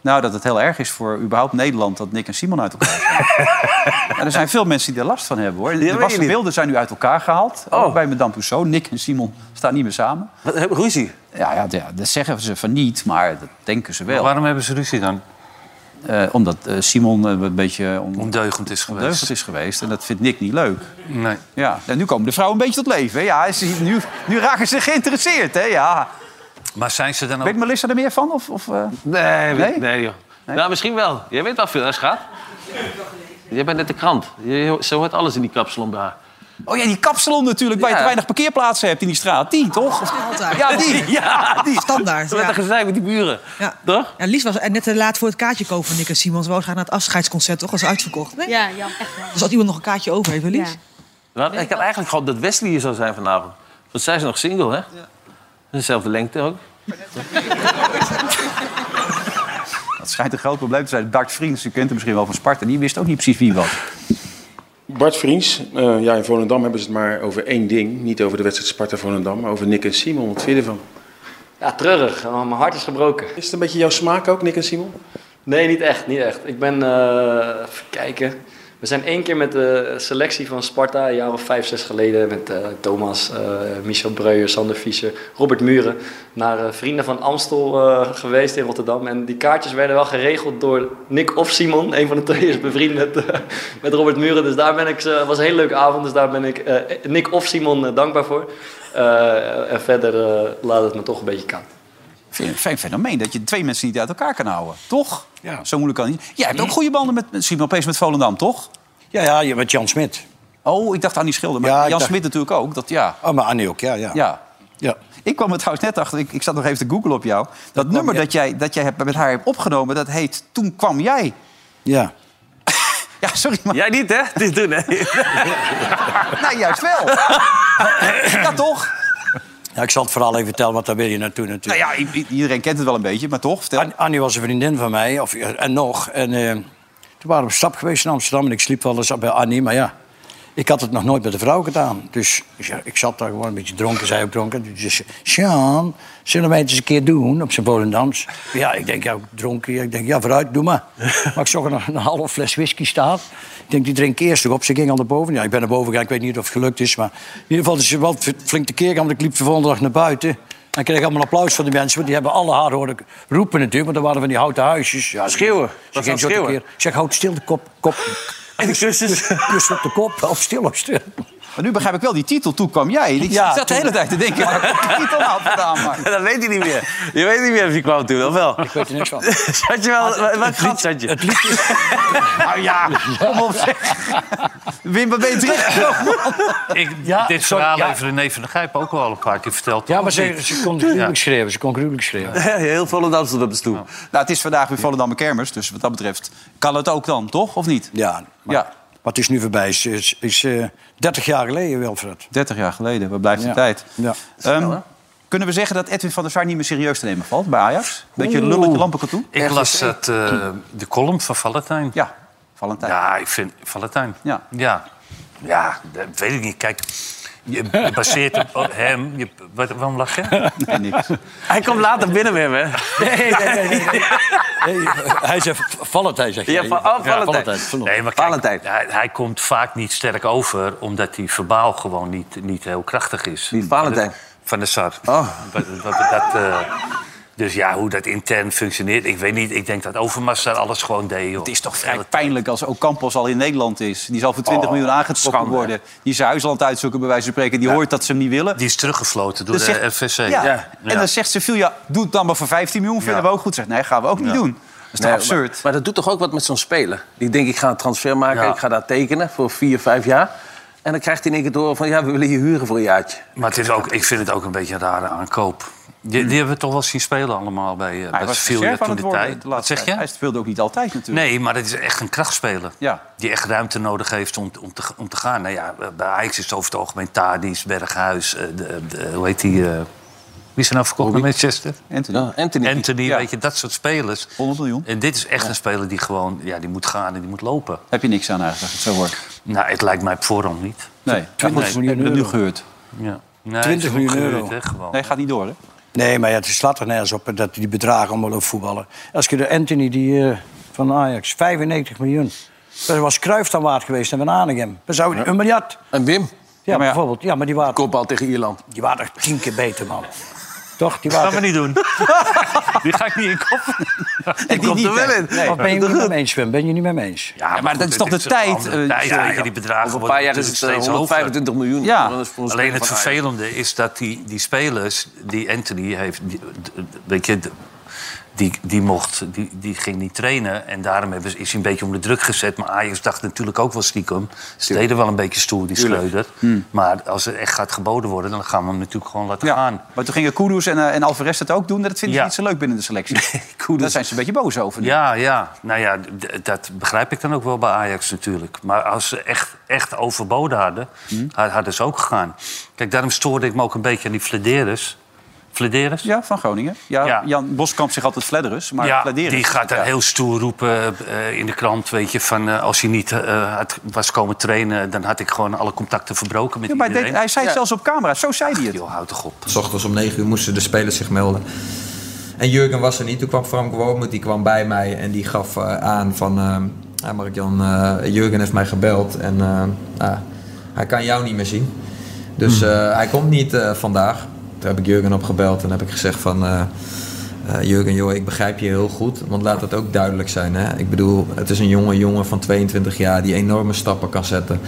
B: Nou, dat het heel erg is voor überhaupt Nederland dat Nick en Simon uit elkaar gaan. Ja, er zijn veel mensen die er last van hebben, hoor.
E: weet
B: De
E: je
B: wassen
E: niet.
B: beelden zijn nu uit elkaar gehaald.
D: Oh.
B: Ook bij Madame Tussaud. Nick en Simon staan niet meer samen.
E: Wat,
D: eh,
E: hebben we ruzie?
B: Ja, ja, ja, dat zeggen ze van niet, maar dat denken ze wel.
D: Waarom hebben ze ruzie dan?
B: Eh, omdat eh, Simon eh, een beetje on-
D: Ondeugend is geweest.
B: ondeugend is geweest. En dat vindt Nick niet leuk.
D: Nee.
B: Ja, en nu komen de vrouwen een beetje tot leven. hè. Ja, ze- nu, nu raken ze geïnteresseerd, hè? Ja.
D: Maar zijn ze dan ook...
B: Weet Melissa er meer van? Of, of, eh?
E: Nee,
B: Nee?
E: nee joh. Nou, misschien wel. Jij weet wel veel, hè, schat? Jij bent net de krant. Je, ze hoort alles in die kapsalon bij haar.
B: Oh ja, die kapsalon natuurlijk, waar je
E: Ja.
B: te weinig parkeerplaatsen hebt in die straat. Die, toch? Of-
H: dus Altijd.
B: Ja, die.
E: Ja, die.
H: Standaard.
E: Ze werd
H: Ja.
E: een gezeik met die buren.
H: Ja.
E: Toch?
H: Ja, Lies was net te laat voor het kaartje kopen van Nick en Simons. Ze wou graag naar het afscheidsconcert, toch? Dat was uitverkocht. Nee?
I: Ja, jam, echt wel.
H: Dus had iemand nog een kaartje over heeft, hè, Lies?
I: Ja.
E: Nou, ik had eigenlijk gehoopt dat Wesley hier zou zijn vanavond. Want zij is nog single, hè? Dezelfde lengte ook.
B: Dat schijnt een groot probleem te zijn. Bart Vriends, u kent hem misschien wel van Sparta, die wist ook niet precies wie was.
J: Bart Vriends, eh, ja, in Volendam hebben ze het maar over één ding. Niet over de wedstrijd Sparta-Volendam, maar over Nick en Simon. Wat vind je ervan?
K: Ja, treurig. want Mijn hart is gebroken.
J: Is het een beetje jouw smaak ook, Nick en Simon?
K: Nee, niet echt, niet echt. Ik ben, eh even kijken, We zijn één keer met de selectie van Sparta, een jaar of vijf, zes geleden, met eh, Thomas, eh, Michel Breuer, Sander Fischer, Robert Muren, naar eh, Vrienden van Amstel eh, geweest in Rotterdam. En die kaartjes werden wel geregeld door Nick of Simon. Een van de twee is bevriend met, eh, met Robert Muren. Dus daar ben ik, ze- het was een hele leuke avond, dus daar ben ik eh, Nick of Simon eh, dankbaar voor. Eh, en verder eh, laat het me toch een beetje koud.
B: Vind je een fijn fenomeen dat je twee mensen niet uit elkaar kan houden, toch? Ja. Zo moeilijk kan het niet. Jij hebt ook goede banden met, met Simon Pees met Volendam, toch?
C: Ja, ja, je- met Jan Smit.
B: Oh, ik dacht Annie Schilder, maar
C: Ja, ik
B: Jan
C: dacht-
B: Smit natuurlijk ook. Dat, ja.
C: Oh, maar Annie ook, ja. ja.
B: Ja.
C: Ja.
B: Ik kwam er trouwens net achter, ik, ik zat nog even te googlen op jou. Dat, nummer dat jij, dat jij hebt, met haar hebt opgenomen, dat heet Toen kwam jij.
C: Ja.
B: Ja, sorry, maar
E: Jij niet, hè? Dit doen, hè?
B: nou, juist wel. ja, toch?
C: Ja, ik zal het verhaal even vertellen, want daar wil je naartoe natuurlijk.
B: Nou ja, i- i- iedereen kent het wel een beetje, maar toch? Vertel.
C: An- Annie was een vriendin van mij, of, en nog. En eh, toen waren we op stap geweest in Amsterdam en ik sliep wel eens bij Annie. Maar ja, ik had het nog nooit met een vrouw gedaan. Dus ja, ik zat daar gewoon een beetje dronken, zij ook dronken. Dus ze zei, Sjaan, zullen wij het eens een keer doen op zijn Volendams? Ja, ik denk, ja, dronken. Ja, ik denk, ja, vooruit, doe maar. Maar ik zag er nog een halve fles whisky staan. Ik denk, die drink ik eerst nog op. Ze ging al naar boven. Ja, ik ben naar boven gegaan, ik weet niet of het gelukt is. Maar in ieder geval is ze wel flink tekeer gegaan, want ik liep de volgende dag naar buiten. En ik kreeg allemaal applaus van de mensen, want die hebben alle haar horen roepen natuurlijk. Want dan waren van die houten huisjes. Ja,
E: Schreeuwen.
C: Ze ging
E: Was dat
C: zo tekeer.
E: schreeuwen?
C: Ik zeg, houd stil de kop. kop. En de kussen. Kus op de kop, of stil, of stil.
B: Maar nu begrijp ik wel die titel, Toen kwam jij. Ik
C: Ja,
B: zat de hele tijd te denken, waar komt die titel nou vandaan? Maar.
I: Dat weet hij niet meer. Je weet niet meer of hij kwam toen, of wel?
C: Ik weet er niks van.
I: Zat je wel... Wat wat gat zat je?
C: Het liedje is...
E: Oh
B: Nou ja, kom op zeg. Wim, wat ben je terechtgekomen?
D: Ik,
C: Ja,
D: dit
C: sorry,
D: verhaal
C: ja.
D: heeft René van der Gijp ook al een paar keer verteld.
C: Ja, maar
D: Of
C: ze,
D: niet?
C: ze kon gruwelijk schreeuwen. Ze kon gruwelijk schreeuwen.
I: Heel Volendam stond op de stoep.
B: Nou, het is vandaag weer Volendam Kermis, dus wat dat betreft kan het ook dan, toch? Of niet?
C: Ja, maar,
B: Ja.
C: maar het is nu voorbij. Het is, is eh, 30 jaar geleden, Wilfred.
B: 30 jaar geleden, waar blijft de
C: Ja.
B: tijd?
C: Ja.
B: Ehm, kunnen we zeggen dat Edwin van der Sar niet meer serieus te nemen valt bij Ajax? Dat je lulletje lampen kan doen?
D: Ik las dat, eh, de column van Valentijn.
B: Ja, Valentijn.
D: Ja, ik vind Valentijn.
B: Ja.
D: Ja, ja Ah, dat weet ik niet. Kijk, je baseert het op hem. Je, wat, waarom lach je?
B: Nee, niks.
I: Hij komt later binnen met hem, hè?
C: Nee, nee, nee. nee, nee. Nee, hij zegt, Valentijn, zeg je.
I: Ja, va- oh, Valentijn.
C: verdomme.
D: Nee, maar kijk,
I: Valentijn.
D: hij, hij komt vaak niet sterk over... omdat hij verbaal gewoon niet, niet heel krachtig is.
I: Wie, Valentijn?
D: Van de Sar.
I: Oh.
D: Wat- wat- dat, eh, dus ja, hoe dat intern functioneert, ik weet niet. Ik denk dat Overmars daar alles gewoon deed. Joh.
B: Het is toch vrij pijnlijk als Ocampos al in Nederland is. Die zal voor
D: Oh,
B: 20 miljoen aangetrokken
E: schande.
B: worden. Die zijn huisland uitzoeken, bij wijze van spreken. Die hoort dat ze hem niet willen.
D: Die is teruggefloten door
B: Dan
D: de
B: zegt-
D: RVC.
B: Ja. En dan zegt Sevilla, doe het dan maar voor 15 miljoen. Vinden we ook goed. Zegt, nee, gaan we ook niet doen. Dat is toch
E: Nee,
B: absurd?
E: Maar, maar dat doet toch ook wat met zo'n speler? Die denkt, ik ga een transfer maken,
D: Ja.
E: ik ga daar tekenen voor vier, vijf jaar. En dan krijgt hij in één keer door van, ja, we willen je huren voor een jaartje.
D: Maar het is ook, ik vind het ook een beetje een rare aankoop. Die, die hebben we toch wel zien spelen allemaal bij, eh
B: Hmm. Hij
D: bij
B: was
D: Sevilla
B: reserve aan
D: toen
B: het
D: de
B: worden
D: tijd.
B: de
D: Wat
B: laatste
D: zeg
B: tijd.
D: je?
B: Hij speelde ook niet altijd natuurlijk.
D: Nee, maar dat is echt een krachtspeler.
B: Ja.
D: Die echt ruimte nodig heeft om, om, te, om te gaan. Nou ja, bij Ajax is het over het algemeen Tadic, Berghuis. eh, de, de- hoe heet die? eh, wie is er nou verkocht naar Manchester?
B: Anthony,
E: Ja, Anthony.
D: Anthony,
B: Ja.
D: weet je, dat soort spelers.
B: 100 miljoen.
D: En dit is echt een speler die gewoon, ja, die moet gaan en die moet lopen.
B: Heb je niks aan eigenlijk, als je het zo hoort.
D: Nou, het lijkt mij op voorhand niet.
B: Nee, Ja,
C: €20
B: goed,
C: miljoen
B: heb ik het nu
C: euro.
B: gehuurd.
D: Ja. Nee,
C: 20
D: het is ook
C: miljoen
D: gehuurd,
C: euro.
D: hè, gewoon.
B: Nee, gaat niet door, hè?
C: Nee, maar ja, het slaat toch nergens op dat die bedragen allemaal op voetballen. Als je de Anthony die, eh, van Ajax, 95 miljoen. Dat was Cruijff dan waard geweest en Van Hanegem. Dan zou die een miljard. Ja,
E: En Wim,
B: maar ja.
C: bijvoorbeeld. Ja, maar die waren,
E: kopbal tegen Ierland.
C: die waren echt tien keer beter, man. Toch? Die
I: Gaan we
C: waren...
I: niet doen. Die ga ik niet in kop.
B: Ik
I: komt er wel in.
C: Of ben je het niet mee eens, Wim? Ben je niet mee eens?
D: Ja,
B: maar dat
D: goed,
B: is toch
D: het
B: de tijd,
D: een andere
B: eh,
D: tijd,
B: ja,
D: weet je,
B: ja.
D: die bedragen
E: Over een
D: worden
E: paar jaar is het
D: natuurlijk
E: eh,
D: steeds hoger.
E: 125 miljoen.
B: Ja.
E: Dat is voor ons
D: Alleen het
E: van Ajax.
D: vervelende is dat die, die spelers die Anthony heeft, die, weet je, die, die mocht, die, die ging niet trainen. En daarom hebben ze, is hij een beetje onder druk gezet. Maar Ajax dacht natuurlijk ook wel stiekem. Ze deden wel een beetje stoer, die sleuter.
C: Hm.
D: Maar als er echt gaat geboden worden, dan gaan we hem natuurlijk gewoon laten gaan.
B: Maar toen gingen Kudus en, eh, en Alvarez dat ook doen. Dat vinden ze
D: Ja.
B: niet zo leuk binnen de selectie.
D: Kudus.
B: Daar zijn ze een beetje boos over. nu.
D: Ja, ja. Nou ja, d- dat begrijp ik dan ook wel bij Ajax natuurlijk. Maar als ze echt, echt overboden hadden, had- hadden ze ook gegaan. Kijk, daarom stoorde ik me ook een beetje aan die Flederis. Flederis?
B: Ja, van Groningen. Ja,
D: Ja.
B: Jan Boskamp zich altijd fledderus, maar
D: ja,
B: fladderus.
D: die gaat daar
B: Ja.
D: heel stoer roepen eh, in de krant, weet je, van eh, als hij niet eh, had- was komen trainen, dan had ik gewoon alle contacten verbroken met
B: Ja, maar hij deed-
D: iedereen.
B: hij zei het zelfs op camera. Zo zei hij het.
D: Joh, houd toch op.
L: S ochtends om 9 uur moesten de spelers zich melden. En Jurgen was er niet. Toen kwam Frank Wormoed, die kwam bij mij en die gaf eh, aan van... ehm, Ja, Mark-Jan, eh, Jurgen heeft mij gebeld en eh, ah, hij kan jou niet meer zien. Dus eh, hij komt niet eh, vandaag. Toen heb ik Jurgen opgebeld en heb ik gezegd van... eh, eh, Jurgen, joh, ik begrijp je heel goed. Want laat dat ook duidelijk zijn. Hè? Ik bedoel, het is een jonge jongen van 22 jaar die enorme stappen kan zetten.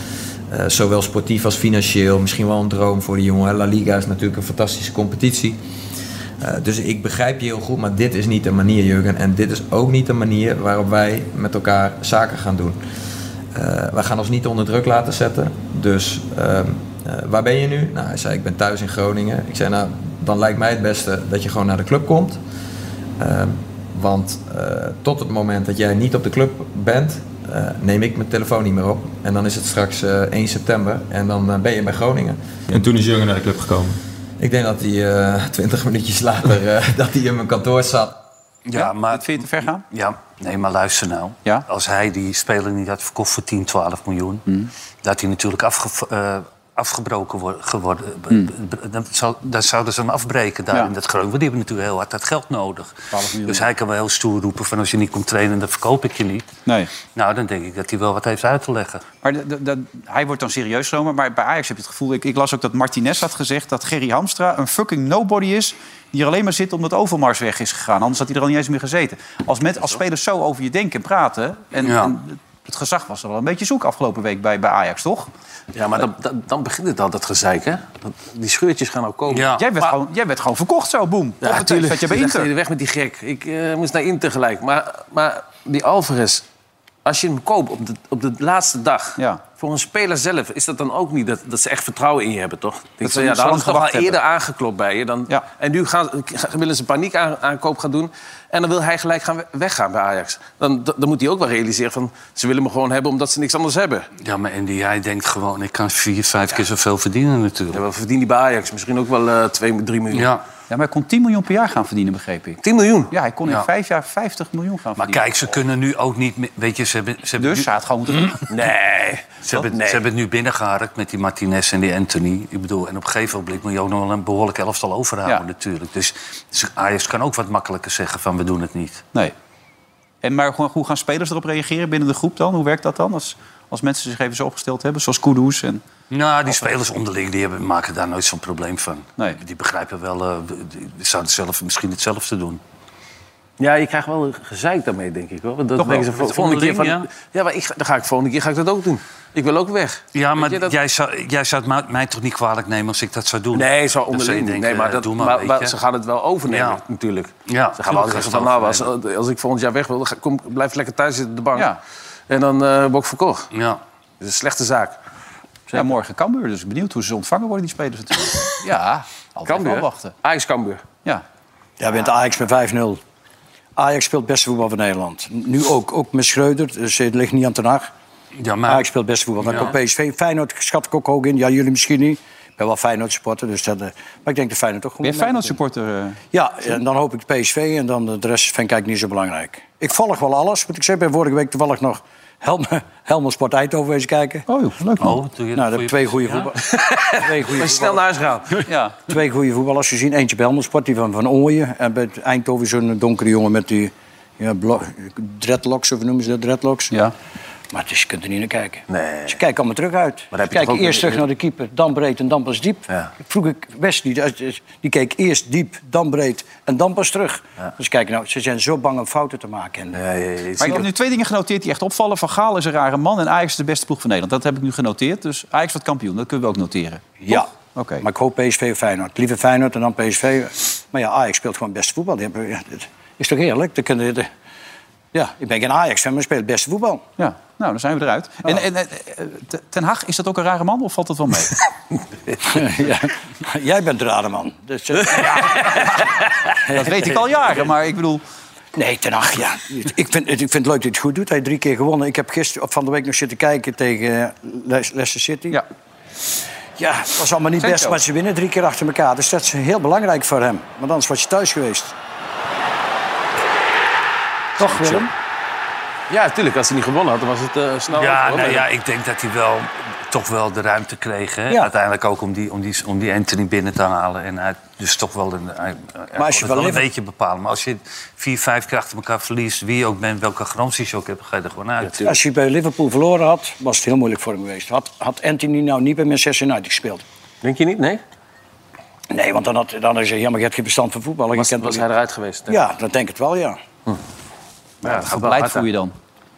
L: Eh, zowel sportief als financieel. Misschien wel een droom voor die jongen. hè. La Liga is natuurlijk een fantastische competitie. Eh, dus ik begrijp je heel goed, maar dit is niet de manier, Jurgen. En dit is ook niet de manier waarop wij met elkaar zaken gaan doen. Eh, wij gaan ons niet onder druk laten zetten. Dus ehm, eh, waar ben je nu? Nou, hij zei, ik ben thuis in Groningen. Ik zei, nou, dan lijkt mij het beste dat je gewoon naar de club komt. Ehm, want eh, tot het moment dat jij niet op de club bent, eh, neem ik mijn telefoon niet meer op. En dan is het straks eh, 1 september en dan eh, ben je bij Groningen.
G: En toen is Jurgen naar de club gekomen.
L: Ik denk dat hij eh, twintig minuutjes later eh, dat hij in mijn kantoor zat.
D: Ja, maar...
B: Vind je het te ver gaan?
D: Ja, nee, maar luister nou. Als hij die speler niet had verkocht voor 10, 12 miljoen...
B: Mm.
D: dat hij natuurlijk afge, eh, afgebroken wordt geworden. eh, Dan, zou, dan zouden ze hem afbreken daar
B: Mm. Ja.
D: in dat Groningen. Want die hebben natuurlijk heel hard dat geld nodig. Dus hij kan wel heel stoer roepen van... als je niet komt trainen, dan verkoop ik je niet.
B: Nee.
E: Ah,
D: Nou, dan denk ik dat hij wel wat heeft uit te leggen.
B: Maar de- de- de- hij wordt dan serieus genomen. Maar bij Ajax heb je het gevoel... Ik, ik las ook dat Martinez had gezegd dat Gerry Hamstra een fucking nobody is... die er alleen maar zit omdat Overmars weg is gegaan. Anders had hij er al niet eens meer gezeten. Als, met, als spelers zo over je denken en praten... En,
D: Ja.
B: en het gezag was er wel een beetje zoek afgelopen week bij, bij Ajax, toch?
E: Ja, maar dan, dan, dan begint het al, dat gezeik, hè? Dat- die scheurtjes gaan ook komen.
B: Jij, werd gewoon, jij werd gewoon verkocht zo, boem.
E: Ja,
B: Ja,
E: natuurlijk.
B: dat je bij Inter.
E: Weg met die gek. Ik eh, moest naar Inter gelijk. Maar, maar die Alvarez, als je hem koopt op de, op de laatste dag... voor een speler zelf, is dat dan ook niet dat, dat ze echt vertrouwen in je hebben, toch? Ik
M: ze
E: van, ja,
M: niet
E: daar
M: zo
E: hadden ze toch
M: lang
E: al
M: gewacht
E: eerder aangeklopt bij je. Dan, En nu gaan, gaan- willen ze paniek aan, aankoop gaan doen. En dan wil hij gelijk gaan we- weggaan bij Ajax. Dan, dan moet hij ook wel realiseren van... ze willen me gewoon hebben omdat ze niks anders hebben.
D: Ja, maar en die, hij denkt gewoon... ik kan vier, vijf keer zoveel verdienen natuurlijk.
E: Ja, wat verdient hij bij Ajax? Misschien ook wel eh 2, 3 miljoen.
D: Ja.
B: Ja, maar hij kon 10 miljoen per jaar gaan verdienen, begreep ik.
E: 10 miljoen?
B: Ja, hij kon in
D: Ja.
B: vijf jaar 50 miljoen gaan
D: Maar
B: verdienen.
D: kijk, ze kunnen nu ook niet... meer- Weet je, ze hebben... Ze hebben
B: Dus
D: nu-
B: hij had gewoon moeten...
E: Nee.
D: Ze hebben,
E: nee.
D: ze hebben het nu binnengeharkt met die Martinez en die Anthony. Ik bedoel, en op een gegeven moment moet je ook nog wel een behoorlijk elftal overhouden natuurlijk. Dus ze- Ajax kan ook wat makkelijker zeggen van we doen het niet.
B: Nee. En maar gewoon, hoe gaan spelers erop reageren binnen de groep dan? Hoe werkt dat dan? Als, als mensen zich even zo opgesteld hebben, zoals Kudus en...
D: Nou, die spelers onderling die hebben, maken daar nooit zo'n probleem van.
B: Nee.
D: Die begrijpen wel, eh, die die zouden zelf misschien hetzelfde doen.
E: Ja, je krijgt wel gezeik daarmee, denk ik. Hoor. Want dan
D: Toch wel.
E: denken ze vol-
D: Het
E: volgende keer van... Ja,
D: onderling,
E: maar ik, ga- dan ga ik volgende keer ga ik dat ook doen. Ik wil ook weg.
D: Ja, maar
E: je, dat-
D: jij, zou, jij zou het ma- mij toch niet kwalijk nemen als ik dat zou doen?
E: Nee, zo
D: Dan zou je
E: onderling.
D: denken,
E: nee, maar
D: eh,
E: dat,
D: doe
E: maar,
D: weet
E: maar
D: je.
E: ze gaan het wel overnemen,
D: Ja.
E: natuurlijk.
D: Ja,
E: ze gaan wel
D: tuurlijk gaan
E: zeggen van,
D: ze
E: nou, als,
D: overnemen.
E: als ik volgend jaar weg wil, dan ga- kom, blijf lekker thuis zitten op de bank. En dan eh word ik verkocht.
D: Ja. Dat
E: is een slechte zaak.
B: Ja, morgen Cambuur. Dus benieuwd hoe ze ontvangen worden, die spelers natuurlijk. ja, altijd
C: Cambuur?
B: wel wachten.
E: Ajax Cambuur.
B: Ja.
C: Jij bent Ajax met 5-0. Ajax speelt beste voetbal van Nederland. Nu ook, ook met Schreuder, dus het ligt niet aan ten Hag.
D: Ja, maar...
C: Ajax speelt beste voetbal. Dan
D: Ja.
C: komt PSV. Feyenoord schat ik ook hoog in. Ja, jullie misschien niet. Ik ben wel Feyenoord supporter, dus dat, eh, maar ik denk dat Feyenoord toch goed
B: Ben je
C: mee
B: Feyenoord
C: doet.
B: supporter? eh?
C: Ja, en dan hoop ik PSV en dan eh, de rest vind ik eigenlijk niet zo belangrijk. Ik volg wel alles, want ik zei, ik ben vorige week toevallig nog Helmer, Helmer Sport Eindhoven eens kijken.
B: Oh, leuk
D: man. Oh, doe je
C: nou,
D: goeie-
C: dat twee goede
D: Ja?
C: voetbal. twee goede
E: Maar snel naar huis gaan.
B: Ja.
C: Twee goede voetballers gezien. Eentje bij Helmond Sport, die van Van Ooyen. En bij Eindhoven zo'n donkere jongen met die ja, blo- dreadlocks, of noemen ze dat, dreadlocks.
B: Ja.
C: Maar het is, je kunt er niet naar kijken. Nee. Dus je kijkt allemaal terug uit.
E: Maar heb je
C: Kijk
E: toch ook
C: eerst
E: een-
C: terug naar de keeper, dan breed en dan pas diep.
E: Ja.
C: Vroeg ik West niet. als- als- Die keek eerst diep, dan breed en dan pas terug. Dus kijk nou, ze zijn zo bang om fouten te maken. En,
B: Maar ik heb nu twee dingen genoteerd die echt opvallen. Van Gaal is een rare man en Ajax is de beste ploeg van Nederland. Dat heb ik nu genoteerd. Dus Ajax wordt kampioen, dat kunnen we ook noteren.
C: Ja.
B: Oké.
C: Maar ik hoop PSV of Feyenoord. Liever Feyenoord en dan PSV. Maar ja, Ajax speelt gewoon beste voetbal. Die hebben- ja, dat is toch eerlijk? Dan kunnen de, ja, ik ben geen Ajax, fan, maar speelt beste voetbal.
B: Ja, nou, dan zijn we eruit.
C: Oh.
B: En, en, eh, eh, Ten Hag, is dat ook een rare man of valt dat wel mee?
C: ja. Jij bent de rare man. Dus, eh,
B: Dat weet ik al jaren, maar ik bedoel...
C: Nee, ten acht, ja. Ik vind, ik vind het leuk dat hij het goed doet. Hij heeft drie keer gewonnen. Ik heb gisteren of van de week nog zitten kijken tegen eh, Les- Leicester City. Ja. Ja, het was allemaal niet
B: Sancho.
C: best, maar ze winnen drie keer achter elkaar. Dus dat is heel belangrijk voor hem. Want anders was je thuis geweest. Toch, Willem?
E: Ja, natuurlijk. Als ze niet gewonnen had, dan was het eh, snel.
D: Ja,
E: over, hoor.
D: nou ja, ik denk dat hij wel toch wel de ruimte kreeg. hè?
C: Ja.
D: Uiteindelijk ook om die, om, die, om die Anthony binnen te halen. En hij, dus toch wel een, hij- hij kon
C: als je
D: het
C: wel
D: wel een
C: even-
D: beetje bepalen. Maar als je vier, vijf keer achter elkaar verliest, wie je ook bent, welke garanties je ook hebt, ga je er gewoon uit.
C: Als je bij Liverpool verloren had, was het heel moeilijk voor hem geweest. Had, had Anthony nou niet bij Manchester United gespeeld?
I: Denk je niet? Nee?
C: Nee, want dan had, dan had hij gezegd, ja, maar je hebt geen bestand van voetbal.
I: Was, was hij eruit geweest? denk ik.
C: Ja, dat denk ik wel, ja.
B: Ja, hoe beleid voel je dan?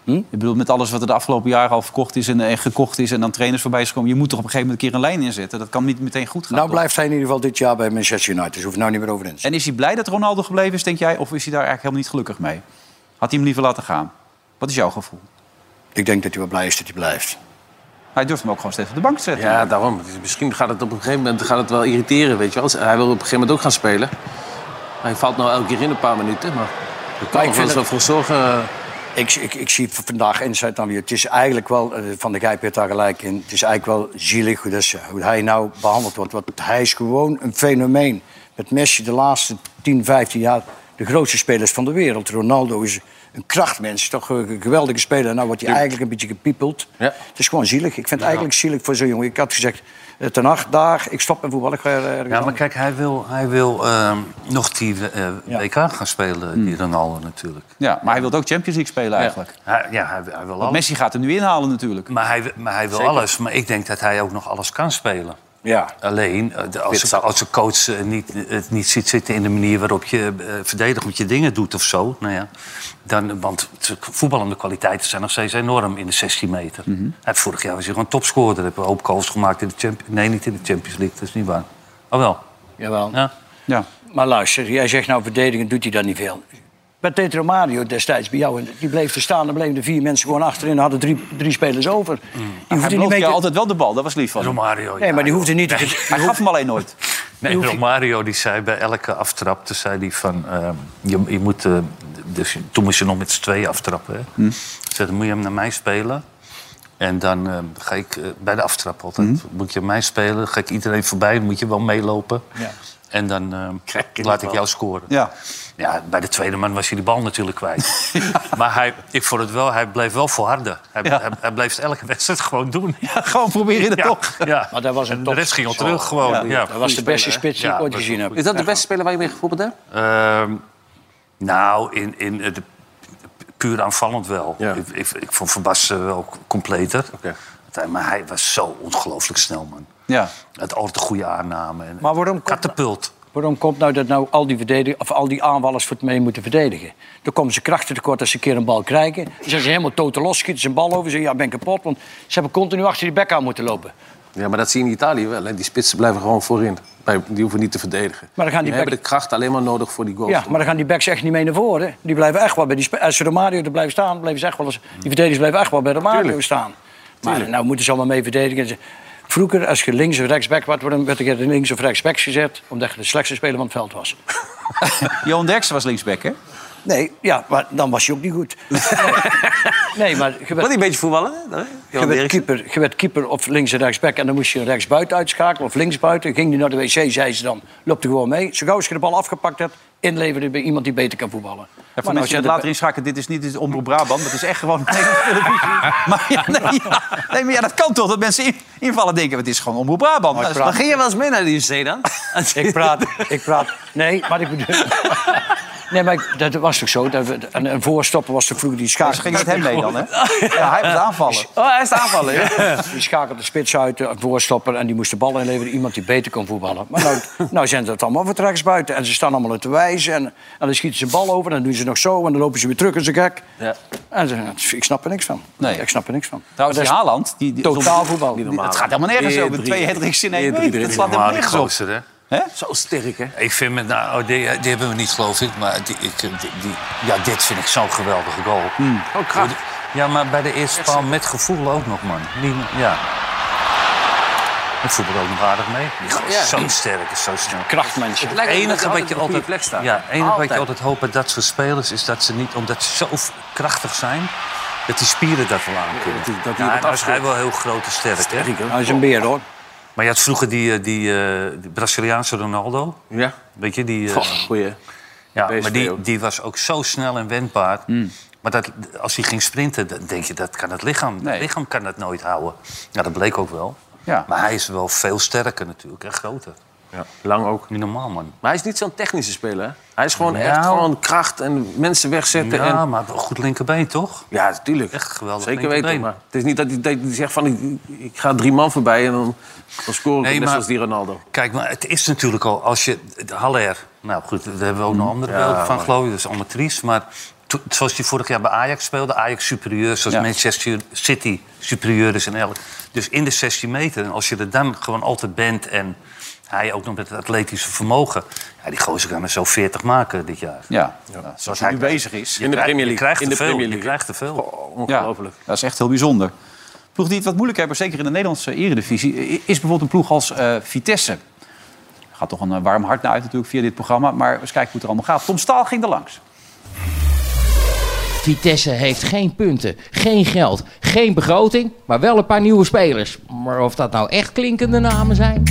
B: Hm? Ik bedoel, met alles wat er de afgelopen jaren al verkocht is en, en gekocht is... en dan trainers voorbij is komen, je moet toch op een gegeven moment een keer een lijn inzetten. Dat kan niet meteen goed gaan.
C: Nou
B: toch?
C: blijft hij in ieder geval dit jaar bij Manchester United. Dus hoef nou niet meer over in.
B: En is hij blij dat Ronaldo gebleven is, denk jij? Of is hij daar eigenlijk helemaal niet gelukkig mee? Had hij hem liever laten gaan? Wat is jouw gevoel?
C: Ik denk dat hij wel blij is dat hij blijft.
B: Hij durft hem ook gewoon steeds op de bank te zetten.
I: Ja, daarom. Dus Misschien gaat het op een gegeven moment gaat het wel irriteren, weet je wel. Hij wil op een gegeven moment ook gaan spelen. Hij valt nou elke keer in een paar minuten, maar... Dat kan ik wel eens wel voor zorgen.
C: Ik, ik, ik zie v- vandaag inzet dan weer. Het is eigenlijk wel, eh, Van de Gijp heeft daar gelijk in. Het is eigenlijk wel zielig hoe, dat, ze- hoe hij nou behandeld wordt. Want hij is gewoon een fenomeen. Met Messi de laatste 10, 15 jaar de grootste spelers van de wereld. Ronaldo is een krachtmens, toch een geweldige speler. Nou wordt hij eigenlijk een beetje gepiepeld. Het is gewoon zielig. Ik vind het eigenlijk zielig voor zo'n jongen. Ik had gezegd, eh, ten acht dagen, ik stop met voetballen. Ik ga er- ergens
D: Ja, maar
C: anders.
D: kijk, hij wil, hij wil ehm, nog die eh, WK gaan spelen, die
C: Hmm.
D: Ronaldo natuurlijk.
B: Ja, maar hij wil ook Champions League spelen eigenlijk.
D: Hij, ja, hij, hij wil
B: Want
D: alles.
B: Messi gaat hem nu inhalen natuurlijk.
D: Maar hij, maar hij wil
B: Zeker.
D: alles. Maar ik denk dat hij ook nog alles kan spelen.
C: Ja.
D: Alleen, eh, de- als, de- als de coach eh, niet, het niet ziet zitten in de manier waarop je eh, verdedigend je dingen doet of zo. Nou ja, dan, want de voetballende kwaliteiten zijn nog steeds enorm in de 16 meter. Hij- vorig jaar was hij gewoon topscorer. Hij heeft een hoop goals gemaakt in de Champions Nee, niet in de Champions League. Dat is niet waar. Oh wel.
C: Jawel.
D: Ja.
B: Ja.
C: Maar luister, jij zegt nou verdedigend doet hij dat niet veel. Bij Tetro Mario destijds, bij jou, die bleef er staan. Dan bleven er vier mensen gewoon achterin en hadden drie, drie spelers over. Die hoefde
B: Hij
C: niet
B: blooft
C: mee
B: je
C: te-
B: altijd wel de bal, dat was lief van hem.
D: Mm. Romario,
C: Nee, maar die hoefde niet... te-
B: Hij gaf hem alleen nooit.
D: Nee, Romario die zei bij elke aftrap, toen zei die van, ehm, je, je moet, eh, dus, toen moest je nog met z'n tweeën aftrappen. Hè?
C: Hm?
D: Zei, dan moet je hem naar mij spelen. En dan ehm, ga ik eh, bij de aftrap altijd, moet je aan mij spelen, ga ik iedereen voorbij, moet je wel meelopen. En dan ehm, laat ik jou scoren.
B: Ja.
D: Ja, bij de tweede man was hij die bal natuurlijk kwijt. Maar hij, ik vond het wel, hij bleef wel volharden. Hij, hij, hij bleef elke wedstrijd gewoon doen.
B: gewoon proberen het
D: ja,
B: toch.
D: Ja.
C: Maar dat was een
D: en de
C: top-
D: rest ging al
C: Zo.
D: terug gewoon.
C: Ja,
D: Ja,
C: dat was de beste spits die ik ooit gezien heb.
I: Is dat de beste speler waar je mee gevoetbald hebt?
D: Ehm, nou, in, in eh, de, puur aanvallend wel. Ik, ik, ik vond Van Basten wel completer. Want hij- Maar hij was zo ongelooflijk snel, man.
B: Ja.
D: Het altijd een goede aanname. En
C: Maar waarom komt,
D: Katapult.
C: waarom komt nou dat nou al die, verdedig- of al die aanvallers voor het mee moeten verdedigen? Dan komen ze krachten tekort als ze een keer een bal krijgen. Dan zijn ze helemaal totaal los, schieten ze een bal over. Ze ja, ik ben kapot, want ze hebben continu achter die bek aan moeten lopen.
I: Ja, maar dat zie je in Italië wel. Hè. Die spitsen blijven gewoon voorin. Bij- Die hoeven niet te verdedigen.
C: Maar dan gaan
I: die
C: die back-
I: hebben de kracht alleen maar nodig voor die goals.
C: Ja, maar dan gaan die backs echt niet mee naar voren. hè. Die blijven echt wel bij die spe- Als ze Romario er blijven staan, blijven ze echt wel eens, die verdedigers blijven echt wel bij Romario
I: Hmm. Tuurlijk.
C: staan. Maar nou moeten ze allemaal mee verdedigen. Ze- Vroeger, als je links of rechtsback werd, werd werd je links of rechtsbacks gezet... omdat je de slechtste speler van het veld was.
B: Johan Derksen was linksback, hè?
C: Nee, ja, maar dan was je ook niet goed. Nee, nee maar... Je werd,
I: een beetje voetballen?
C: je werd, keeper, je werd keeper of links en rechtsback en dan moest je een rechtsbuiten uitschakelen of linksbuiten. Ging die naar de wc, zei ze dan, loopt er gewoon mee. Zo gauw als je de bal afgepakt hebt, inleveren bij iemand die beter kan
B: Ja,
C: voetballen.
B: voor
C: Maar nou
B: mensen
C: zit
B: die
C: er
B: het later inschakelen, dit is niet dit is Omroep Brabant. Dat is echt gewoon Nederlandse televisie. Maar ja, nee, ja. Nee, maar ja, dat kan toch, dat mensen in- invallen denken... het is gewoon Omroep Brabant.
C: Maar
B: Dat is-
C: praat-
B: dan ging je-
C: wel eens mee naar de IC dan? ik praat, ik praat. Nee, maar ik bedoel. Nee, maar ik- dat was toch zo? Dat we- Een, een voorstopper was toch vroeger die schakel.
B: Dus ging met hem mee dan, hè? Ja, hij moet aanvallen.
I: Oh, hij is aanvallen,
C: Die schakelde de spits uit, een voorstopper. En die moest de bal inleveren. Iemand die beter kon voetballen. Maar nou, nou zijn dat allemaal vertrekkers buiten. En ze staan allemaal te wijzen. En, en dan schieten ze een bal over. En dan doen ze nog zo. En dan lopen ze weer terug als een gek. En ze, ik snap er niks van.
B: Nee.
C: Ik snap er niks van.
B: Trouwens, die
C: Maar dat is
B: Haaland... Die, die-
C: Totaal voetbal.
B: die- Het gaat helemaal nergens
D: Weer
B: over.
D: drie.
B: Twee hat-tricks in één
D: Weer drie
B: week. Dat
D: erin.
B: slaat
D: Normaal,
B: helemaal
D: die
B: nergens op.
D: gozer, hè?
I: Zo sterk, hè?
D: Ik vind met nou, oh, die, die hebben we niet, geloof ik. Maar die, ik, die, die- ja, dit vind ik zo'n geweldige goal.
I: Oh, kracht.
D: Ja, maar bij de eerste paal met gevoel ook nog, man. Die, ja. Het voetbal ook nog aardig mee. Die goal is
I: Ja.
D: zo sterk, is zo snel.
C: Krachtmensje.
D: Het enige wat je altijd,
I: plek staat.
D: ja, het enige wat je altijd hoopt bij dat soort spelers is dat ze niet, omdat ze zo krachtig zijn, dat die spieren dat wel aan kunnen.
I: dat die- dat die
D: Ja,
I: dat
D: hij was-
I: afschudt.
D: hij wel heel groot en sterk, hè?
C: Hij is een beer, hoor.
D: Maar je had vroeger die, eh, die, eh, die Braziliaanse Ronaldo.
I: Ja.
D: Weet je, die... eh,
I: Goh, goeie.
D: ja,
I: Deze
D: maar die,
I: ook.
D: die was ook zo snel en wendbaar. Maar dat, als hij ging sprinten, dan denk je, dat kan het lichaam. Het lichaam kan dat nooit houden. Ja, dat bleek ook wel.
B: Ja.
D: Maar hij is wel veel sterker natuurlijk en groter.
E: Lang ook.
D: Niet normaal, man.
E: Maar hij is niet zo'n technische speler. hè? Hij is gewoon
D: Nou.
E: echt gewoon kracht en mensen wegzetten.
D: Ja,
E: en...
D: maar wel goed linkerbeen, toch?
E: Ja, natuurlijk.
D: Echt geweldig
E: Zeker weten.
D: linkerbeen.
E: Maar het is niet dat hij, dat hij zegt van ik, ik ga drie man voorbij en dan, dan scoren we
D: Nee,
E: net
D: maar-
E: zoals die Ronaldo.
D: Kijk, maar het is natuurlijk al, als je... de Haller, nou goed, daar hebben we ook nog andere
E: Mm. Ja,
D: beelden van,
E: maar-
D: geloof ik. Dat is allemaal triest, maar... to- Zoals hij vorig jaar bij Ajax speelde, Ajax superieur, zoals Manchester City superieur is in elk. Dus in de 16 meter, en als je er dan gewoon altijd bent en hij ook nog met het atletische vermogen. Ja, die gozer kan er zo 40 maken dit jaar.
B: Ja.
D: Zoals
B: hij
D: nu bezig is.
E: In de Premier
D: Je
E: League.
D: krijgt
E: In
D: te
E: de
D: veel.
E: Premier
D: Je
E: League.
D: krijgt te veel.
E: Ongelooflijk.
B: Ja, dat is echt heel bijzonder. Ploeg die het wat moeilijk hebben, zeker in de Nederlandse eredivisie, i- is bijvoorbeeld een ploeg als eh, Vitesse. Er gaat toch een eh, warm hart naar uit natuurlijk via dit programma, maar eens kijken hoe het er allemaal gaat. Tom Staal ging er langs.
N: Vitesse heeft geen punten, geen geld, geen begroting, maar wel een paar nieuwe spelers. Maar of dat nou echt klinkende namen zijn?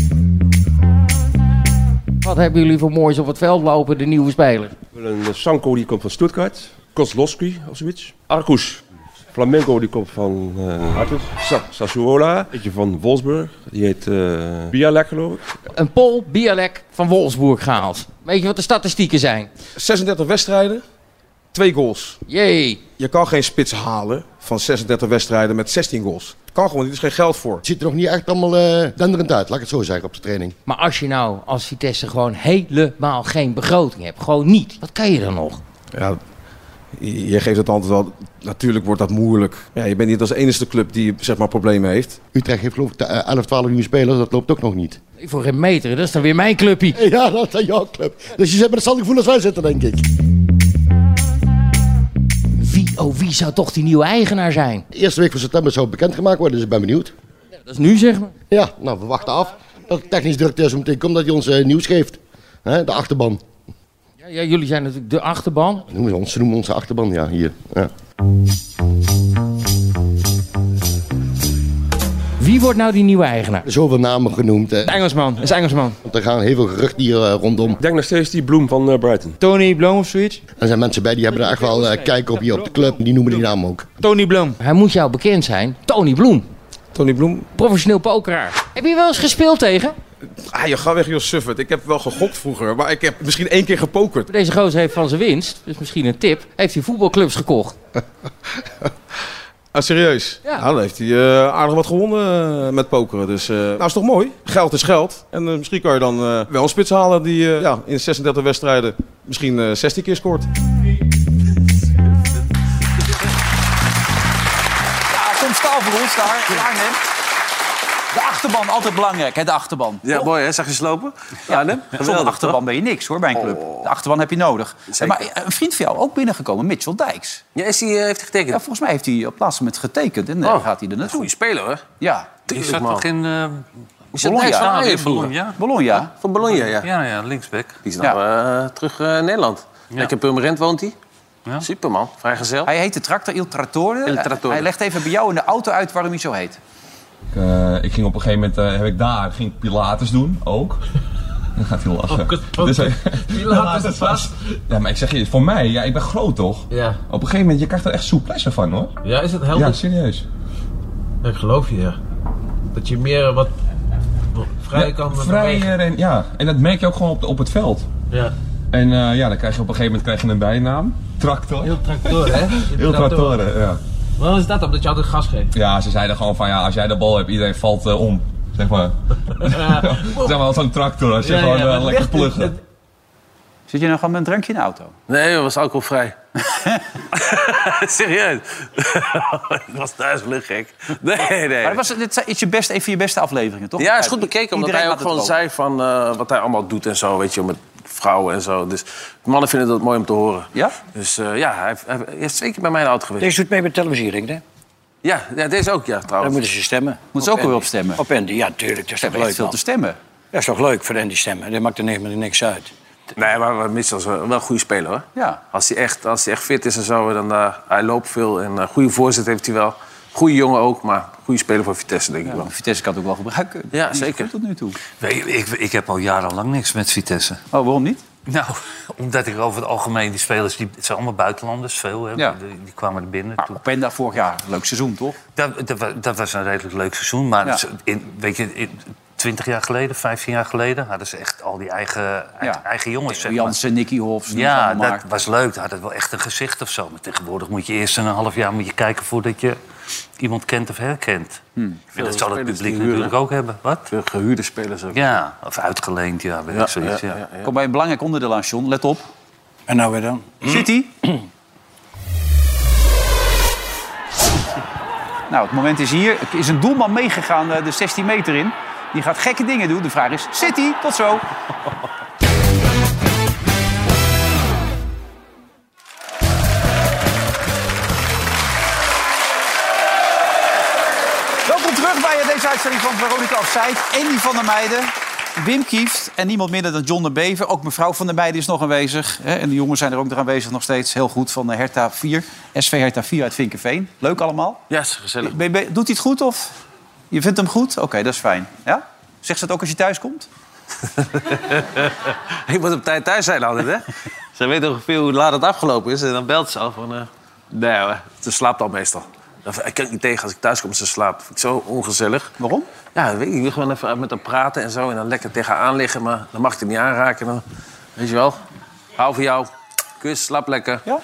N: Wat hebben jullie voor moois op het veld lopen, de nieuwe spelers?
O: Een eh, Sanko die komt van Stuttgart. Kozlowski of zoiets. Arcus. Flamengo die komt van eh Sa- Sassuola. Eentje van Wolfsburg. Die heet eh Bialek geloof ik.
N: Een Pol Bialek van Wolfsburg gehaald. Weet je wat de statistieken zijn?
P: 36 wedstrijden, twee goals.
N: Jee.
P: Je kan geen spits halen van 36 wedstrijden met 16 goals. Kan gewoon, niet, er is geen geld voor.
Q: Het ziet er nog niet echt allemaal eh denderend uit, laat ik het zo zeggen, op de training.
N: Maar als je nou als Vitesse gewoon helemaal geen begroting hebt, gewoon niet, wat kan je dan nog?
P: Ja, je je geeft het antwoord wel. Natuurlijk wordt dat moeilijk. Ja, je bent niet als enige club die zeg maar, problemen heeft.
Q: Utrecht heeft geloof ik de, eh, 11, 12 nieuwe spelers, dat loopt ook nog niet.
N: Voor geen meter, dat is dan weer mijn clubpie.
Q: Ja, dat is jouw club. Dus je zit met hetzelfde gevoel als wij zitten, denk ik.
N: Wie, oh wie zou toch die nieuwe eigenaar zijn?
Q: De eerste week van september zou bekendgemaakt worden, dus ik ben benieuwd.
N: Dat is nu, zeg maar.
Q: Ja, nou, we wachten af dat het technisch directeur zo meteen komt dat hij ons eh, nieuws geeft. Hè, de achterban.
N: Ja, ja, jullie zijn natuurlijk de achterban.
Q: Noemen ze, ons, ze noemen onze achterban, ja, hier. Ja.
N: Wie wordt nou die nieuwe eigenaar?
Q: Zoveel namen genoemd. eh.
N: Engelsman, is Engelsman.
Q: Want er gaan heel veel geruchten hier eh, rondom. Ik
O: denk nog steeds die Bloem van eh, Brighton.
N: Tony Bloem of zoiets?
Q: Er zijn mensen bij die hebben er echt wel eh, kijk op hier op de club. Die noemen die naam ook.
N: Tony Bloem. Hij moet jou bekend zijn. Tony Bloem. Tony Bloem. Professioneel pokeraar. Heb je wel eens gespeeld tegen?
P: Ah, je gaat weg, joh, suffert. Ik heb wel gegokt vroeger, maar ik heb misschien één keer gepokerd.
N: Deze gozer heeft van zijn winst, dus misschien een tip, heeft hij voetbalclubs gekocht.
P: Ah, serieus?
N: Ja.
P: Nou, dan heeft hij eh, aardig wat gewonnen eh, met pokeren. Dus, eh, nou, is toch mooi? Geld is geld. En eh, misschien kan je dan eh, wel een spits halen die eh, ja, in 36 wedstrijden misschien eh 16 keer scoort.
B: Ja, Tom Staal voor ons daar in Arnhem. De achterban, altijd belangrijk, hè, de achterban.
E: Ja, mooi hè? Zag je slopen?
B: Ja, Zonder
E: geweldig, Oh.
B: achterban ben je niks hoor bij een club. De achterban heb je nodig.
E: Zeker.
B: Maar eh, een vriend van jou ook binnengekomen, Mitchell Dijks.
E: Ja, is hij, eh, heeft hij getekend? Oh.
B: Ja, volgens mij heeft hij op het laatste moment getekend en eh, gaat hij er naartoe.
E: Goeie speler hoor.
B: Ja.
D: Die zat toch in eh
E: Bologna.
D: Bologna?
E: Bologna.
D: Bologna?
B: Bologna?
E: Van Bologna, ja.
D: Ja, ja, linksback.
E: Die is nou eh, terug eh, in Nederland. Lekker Purmerend woont hij. Superman, vrijgezel.
B: Hij heet de tractor Il Trattore.
E: Il Trattore.
B: Hij legt even bij jou in de auto uit waarom hij zo heet.
R: Ik, eh, ik ging op een gegeven moment, eh, heb ik daar, ging ik Pilates doen, ook. Dan gaat hij lachen. Dus, eh,
S: Oh, Pilates was.
R: ja, maar ik zeg je, voor mij, ja, ik ben groot toch?
S: Ja.
R: Op een gegeven moment, je krijgt er echt souplesse van hoor.
S: Ja, is het helder?
R: Ja, serieus.
S: Ja, ik geloof je, ja. Dat je meer eh, wat wat vrij
R: Ja,
S: kan bewegen.
R: vrijer en ja, en dat merk je ook gewoon op, op het veld.
S: Ja.
R: En eh, ja, dan krijg je op een gegeven moment krijg je een bijnaam. Tractor. Heel
S: tractor, hè?
R: Heel tractor, ja.
S: Waarom is dat? Omdat je altijd gas geeft.
R: Ja, ze zeiden gewoon van ja, als jij de bal hebt, iedereen valt eh, om. Zeg maar.
S: Oh.
R: zeg maar als zo'n tractor, als je
E: Ja, ja,
R: gewoon eh,
E: maar het
R: lekker
E: ligt-
R: pluggen.
B: Zit je nou gewoon met een drankje in de auto?
E: Nee, dat was alcoholvrij. Serieus? Ik was thuis gek. Nee, nee.
B: Maar dat was, dit is je best, een van je beste afleveringen, toch?
E: Ja, is goed bekeken. Omdat
B: Iedereen
E: hij ook
B: had het
E: gewoon zei van eh, wat hij allemaal doet en zo. Weet je, met vrouwen en zo. Dus mannen vinden dat mooi om te horen.
B: Ja?
E: Dus eh, ja, hij, hij hij is zeker bij mij in de auto geweest.
C: Deze doet mee met televisiering, hè?
E: Ja, ja, deze ook, ja, trouwens.
C: Daar moeten ze stemmen.
E: Moeten ze ook
C: Andy.
E: weer op stemmen?
C: Op Andy, ja, tuurlijk. Dat is toch
E: hebben echt
C: leuk,
E: veel
C: man.
E: te
B: stemmen.
C: Dat is toch leuk voor Andy stemmen. Dat maakt er niks, niks uit.
E: Nee, maar, maar Mitchell is wel een goede speler, hoor.
B: Ja.
E: Als hij echt, als hij echt fit is en zo, dan eh, hij loopt veel. En eh goede voorzet heeft hij wel. Goede jongen ook, maar goede speler voor Vitesse, denk ik wel.
B: Vitesse kan het ook wel gebruiken.
E: Ja,
B: Die is
E: zeker.
B: goed tot nu toe.
D: Nee, ik, ik heb al jarenlang niks met Vitesse. Oh,
B: waarom niet?
D: Nou, omdat ik over het algemeen die spelers, die, het zijn allemaal buitenlanders, veel. Hè,
B: Ja. Nou,
D: die, die kwamen er binnen. Toen-
B: Openda vorig jaar, leuk seizoen toch?
D: Dat, dat, wa- dat was een redelijk leuk seizoen. Maar
B: Ja.
D: het is- in, weet je, in, 20 jaar geleden, 15 jaar geleden, hadden ze echt al die eigen, eigen jongens. Zeg maar.
B: Jansen, Nicky Hofs, noem ze
D: Ja,
B: allemaal
D: dat was leuk. Daar had het wel echt een gezicht of zo. Maar tegenwoordig moet je eerst een half jaar moet je kijken voordat je iemand kent of herkent.
B: Hmm.
D: En dat zal het publiek natuurlijk ook hebben. Wat?
I: Gehuurde spelers ook.
D: Ja, of uitgeleend, ja, weet
I: Ja,
D: ik zoiets.
I: ja,
D: Ja,
I: ja, ja.
B: Kom bij een belangrijk onderdeel aan, John. Let op.
C: En nou weer dan?
B: City. nou, het moment is hier. Er is een doelman meegegaan eh, de 16 meter in. Die gaat gekke dingen doen. De vraag is, City, tot zo. Welkom terug bij deze uitzending van Veronica Afzijd. Andy van der Meijden, Wim Kieft en niemand minder dan John de Bever. Ook mevrouw van der Meijden is nog aanwezig. Hè? En de jongens zijn er ook nog aanwezig nog steeds. Heel goed, van eh, Herta 4. SV Herta 4 uit Vinkenveen. Leuk allemaal.
I: Ja, is gezellig.
B: Ben- ben- doet hij het goed of? Je vindt hem goed? Oké, dat is fijn. Ja? Zegt ze het ook als je thuis komt?
I: je moet op tijd thuis zijn altijd, hè? ze weet ongeveer hoe laat het afgelopen is en dan belt ze al van... eh, Nee hoor, ze slaapt al meestal. Dan- Ik kan niet tegen als ik thuis kom, ze slaapt. Vind ik zo ongezellig.
B: Waarom?
I: Ja, dat weet ik. Ik wil gewoon even met haar praten en zo. En dan lekker tegen haar aanliggen, maar dan mag ik het niet aanraken. Dan, weet je wel, hou van jou. Kus, slaap lekker.
B: Ja?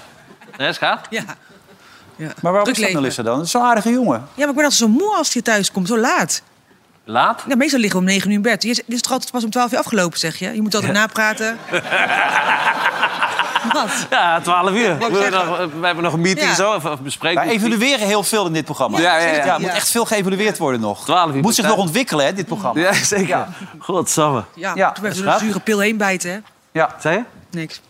I: Nee, schat?
H: Ja.
B: Maar waarom is dat nou, Lissa, dan? Dat is zo'n aardige jongen.
H: Ja, maar ik ben altijd zo moe als hij thuis komt, zo laat.
I: Laat?
H: Ja, meestal liggen we om 9 uur in bed. Je is, dit is toch altijd pas om 12 uur afgelopen, zeg je? Je moet altijd napraten. Wat?
I: Ja, 12 uur.
H: Wat
I: We,
H: zeggen?
I: hebben nog, we hebben nog een meeting
H: Ja.
I: zo, even even bespreken.
B: Wij evalueren heel veel in dit programma.
I: Ja, ja, ja.
B: er moet
I: Ja.
B: echt veel geëvalueerd worden nog.
I: 12 uur
B: moet zich
I: betaald.
B: nog ontwikkelen, hè, dit programma.
I: Ja, zeker.
B: Ja.
I: Godsamme.
H: Ja,
B: Ja,
H: toen
B: dat
H: even
B: is
H: door
B: waar.
H: een zure pil heen bijten, hè?
B: Ja.
I: Zei je?
H: Niks.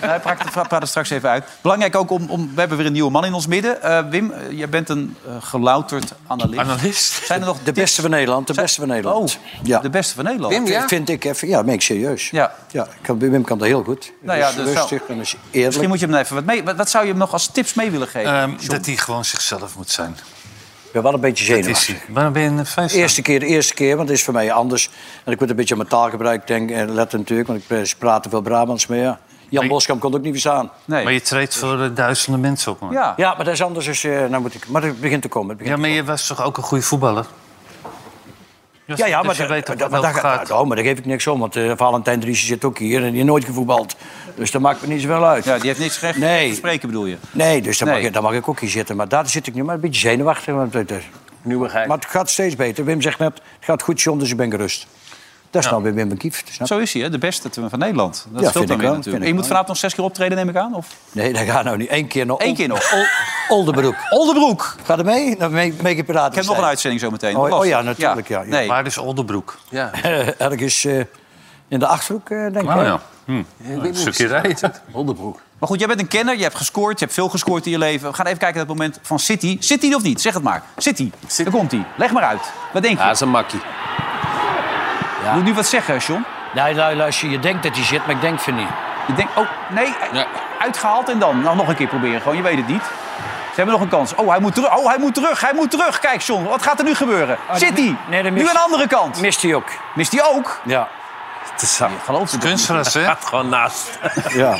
B: Hij praat, pra- praat er straks even uit. Belangrijk ook om, om... We hebben weer een nieuwe man in ons midden. Eh, Wim, eh, jij bent een eh, gelouterd analist.
D: Analist?
B: Zijn er nog
C: De beste van Nederland, de beste van Nederland.
B: ja. Oh, de beste van Nederland?
C: Vind- Vind ik even, ja, dat meen ik serieus.
B: Ja.
C: Ja, ik kan- Wim kan dat heel goed.
B: Nou ja,
C: Dus
B: dus
C: rustig
B: wel-
C: en is eerlijk.
B: Misschien moet je hem even wat mee... Wat, wat zou je hem nog als tips mee willen geven?
D: Ehm, dat hij gewoon zichzelf moet zijn.
C: Ik ben wel een beetje zenuwachtig.
D: Waarom ben je in vijf?
C: Eerste keer, de eerste keer, want het is voor mij anders. En ik moet een beetje aan mijn taalgebruik denken en letten natuurlijk, want ik eh, praat te veel Brabants mee. Ja. Jan Boskamp kon het ook niet verstaan.
D: Maar je treedt voor eh, duizenden mensen op, man.
C: Ja. ja, maar dat is anders als je... Nou moet ik, maar het begint te komen. Het begint
D: Ja, maar je was toch ook een goede voetballer?
C: Ja, ja, maar
D: dus je weet
C: dat-
D: toch
C: maar
D: wel
C: daar gaat- nou, maar daar geef ik niks om, want eh, Valentijn Driesen zit ook hier en die heeft nooit gevoetbald. Dus dat maakt me niet zoveel uit.
B: Ja, die heeft niks recht
C: Nee.
B: te spreken, bedoel je?
C: Nee, dus daar,
B: Nee.
C: Mag, ik- daar mag ik ook in zitten. Maar daar zit ik nu maar een beetje zenuwachtig. Want het, is- maar het gaat steeds beter. Wim zegt net, het gaat goed, John, dus ik ben gerust. Dat is nou weer Wim Bekieft. snap je?
B: Zo is hij, hè? de beste van Nederland. Dat
C: Ja,
B: scheelt
C: vind
B: dan
C: ik
B: weer
C: wel, vind
B: natuurlijk.
C: ik
B: En je moet
C: wel.
B: vanavond nog zes keer optreden, neem ik aan? Of?
C: Nee, dat gaat nou niet. Eén keer nog.
B: Eén keer nog.
C: Ol- Oldenbroek.
B: Oldenbroek.
C: Ga er mee? Dan mee, mee ik praten.
B: Ik heb nog een uitzending zo meteen.
C: Oh,
B: Lastig.
C: oh ja, natuurlijk. Ja.
B: Nee.
D: Waar is Oldenbroek?
I: Ja.
C: Ergens eh, in de Achterhoek, eh, denk ik.
D: Oh
C: hè?
D: ja. Hm. Een stukje rijden.
I: Onderbroek.
B: Maar goed, jij bent een kenner, je hebt gescoord, je hebt veel gescoord in je leven. We gaan even kijken naar het moment van City. City of niet? Zeg het maar. City. Daar komt hij. Leg maar uit. Wat denk je?
I: Ja, dat is een makkie.
B: Je Moet nu wat zeggen, John?
C: Nee, lu- luister, je denkt dat hij zit, maar ik denk van niet.
B: Je denkt, oh nee, uitgehaald en dan. Nou, nog een keer proberen gewoon, je weet het niet. Ze hebben nog een kans. Oh, hij moet terug. Oh, hij moet terug. Hij moet terug. Kijk, John, wat gaat er nu gebeuren? City.
C: Oh, nee, dat
B: nu
C: mist-
B: aan de andere kant.
C: Mist hij ook.
B: Mist hij ook?
C: Ja.
I: Het is samen.
B: Geloof het
D: Kunstgras, hè?
I: Gewoon naast.
C: Ja.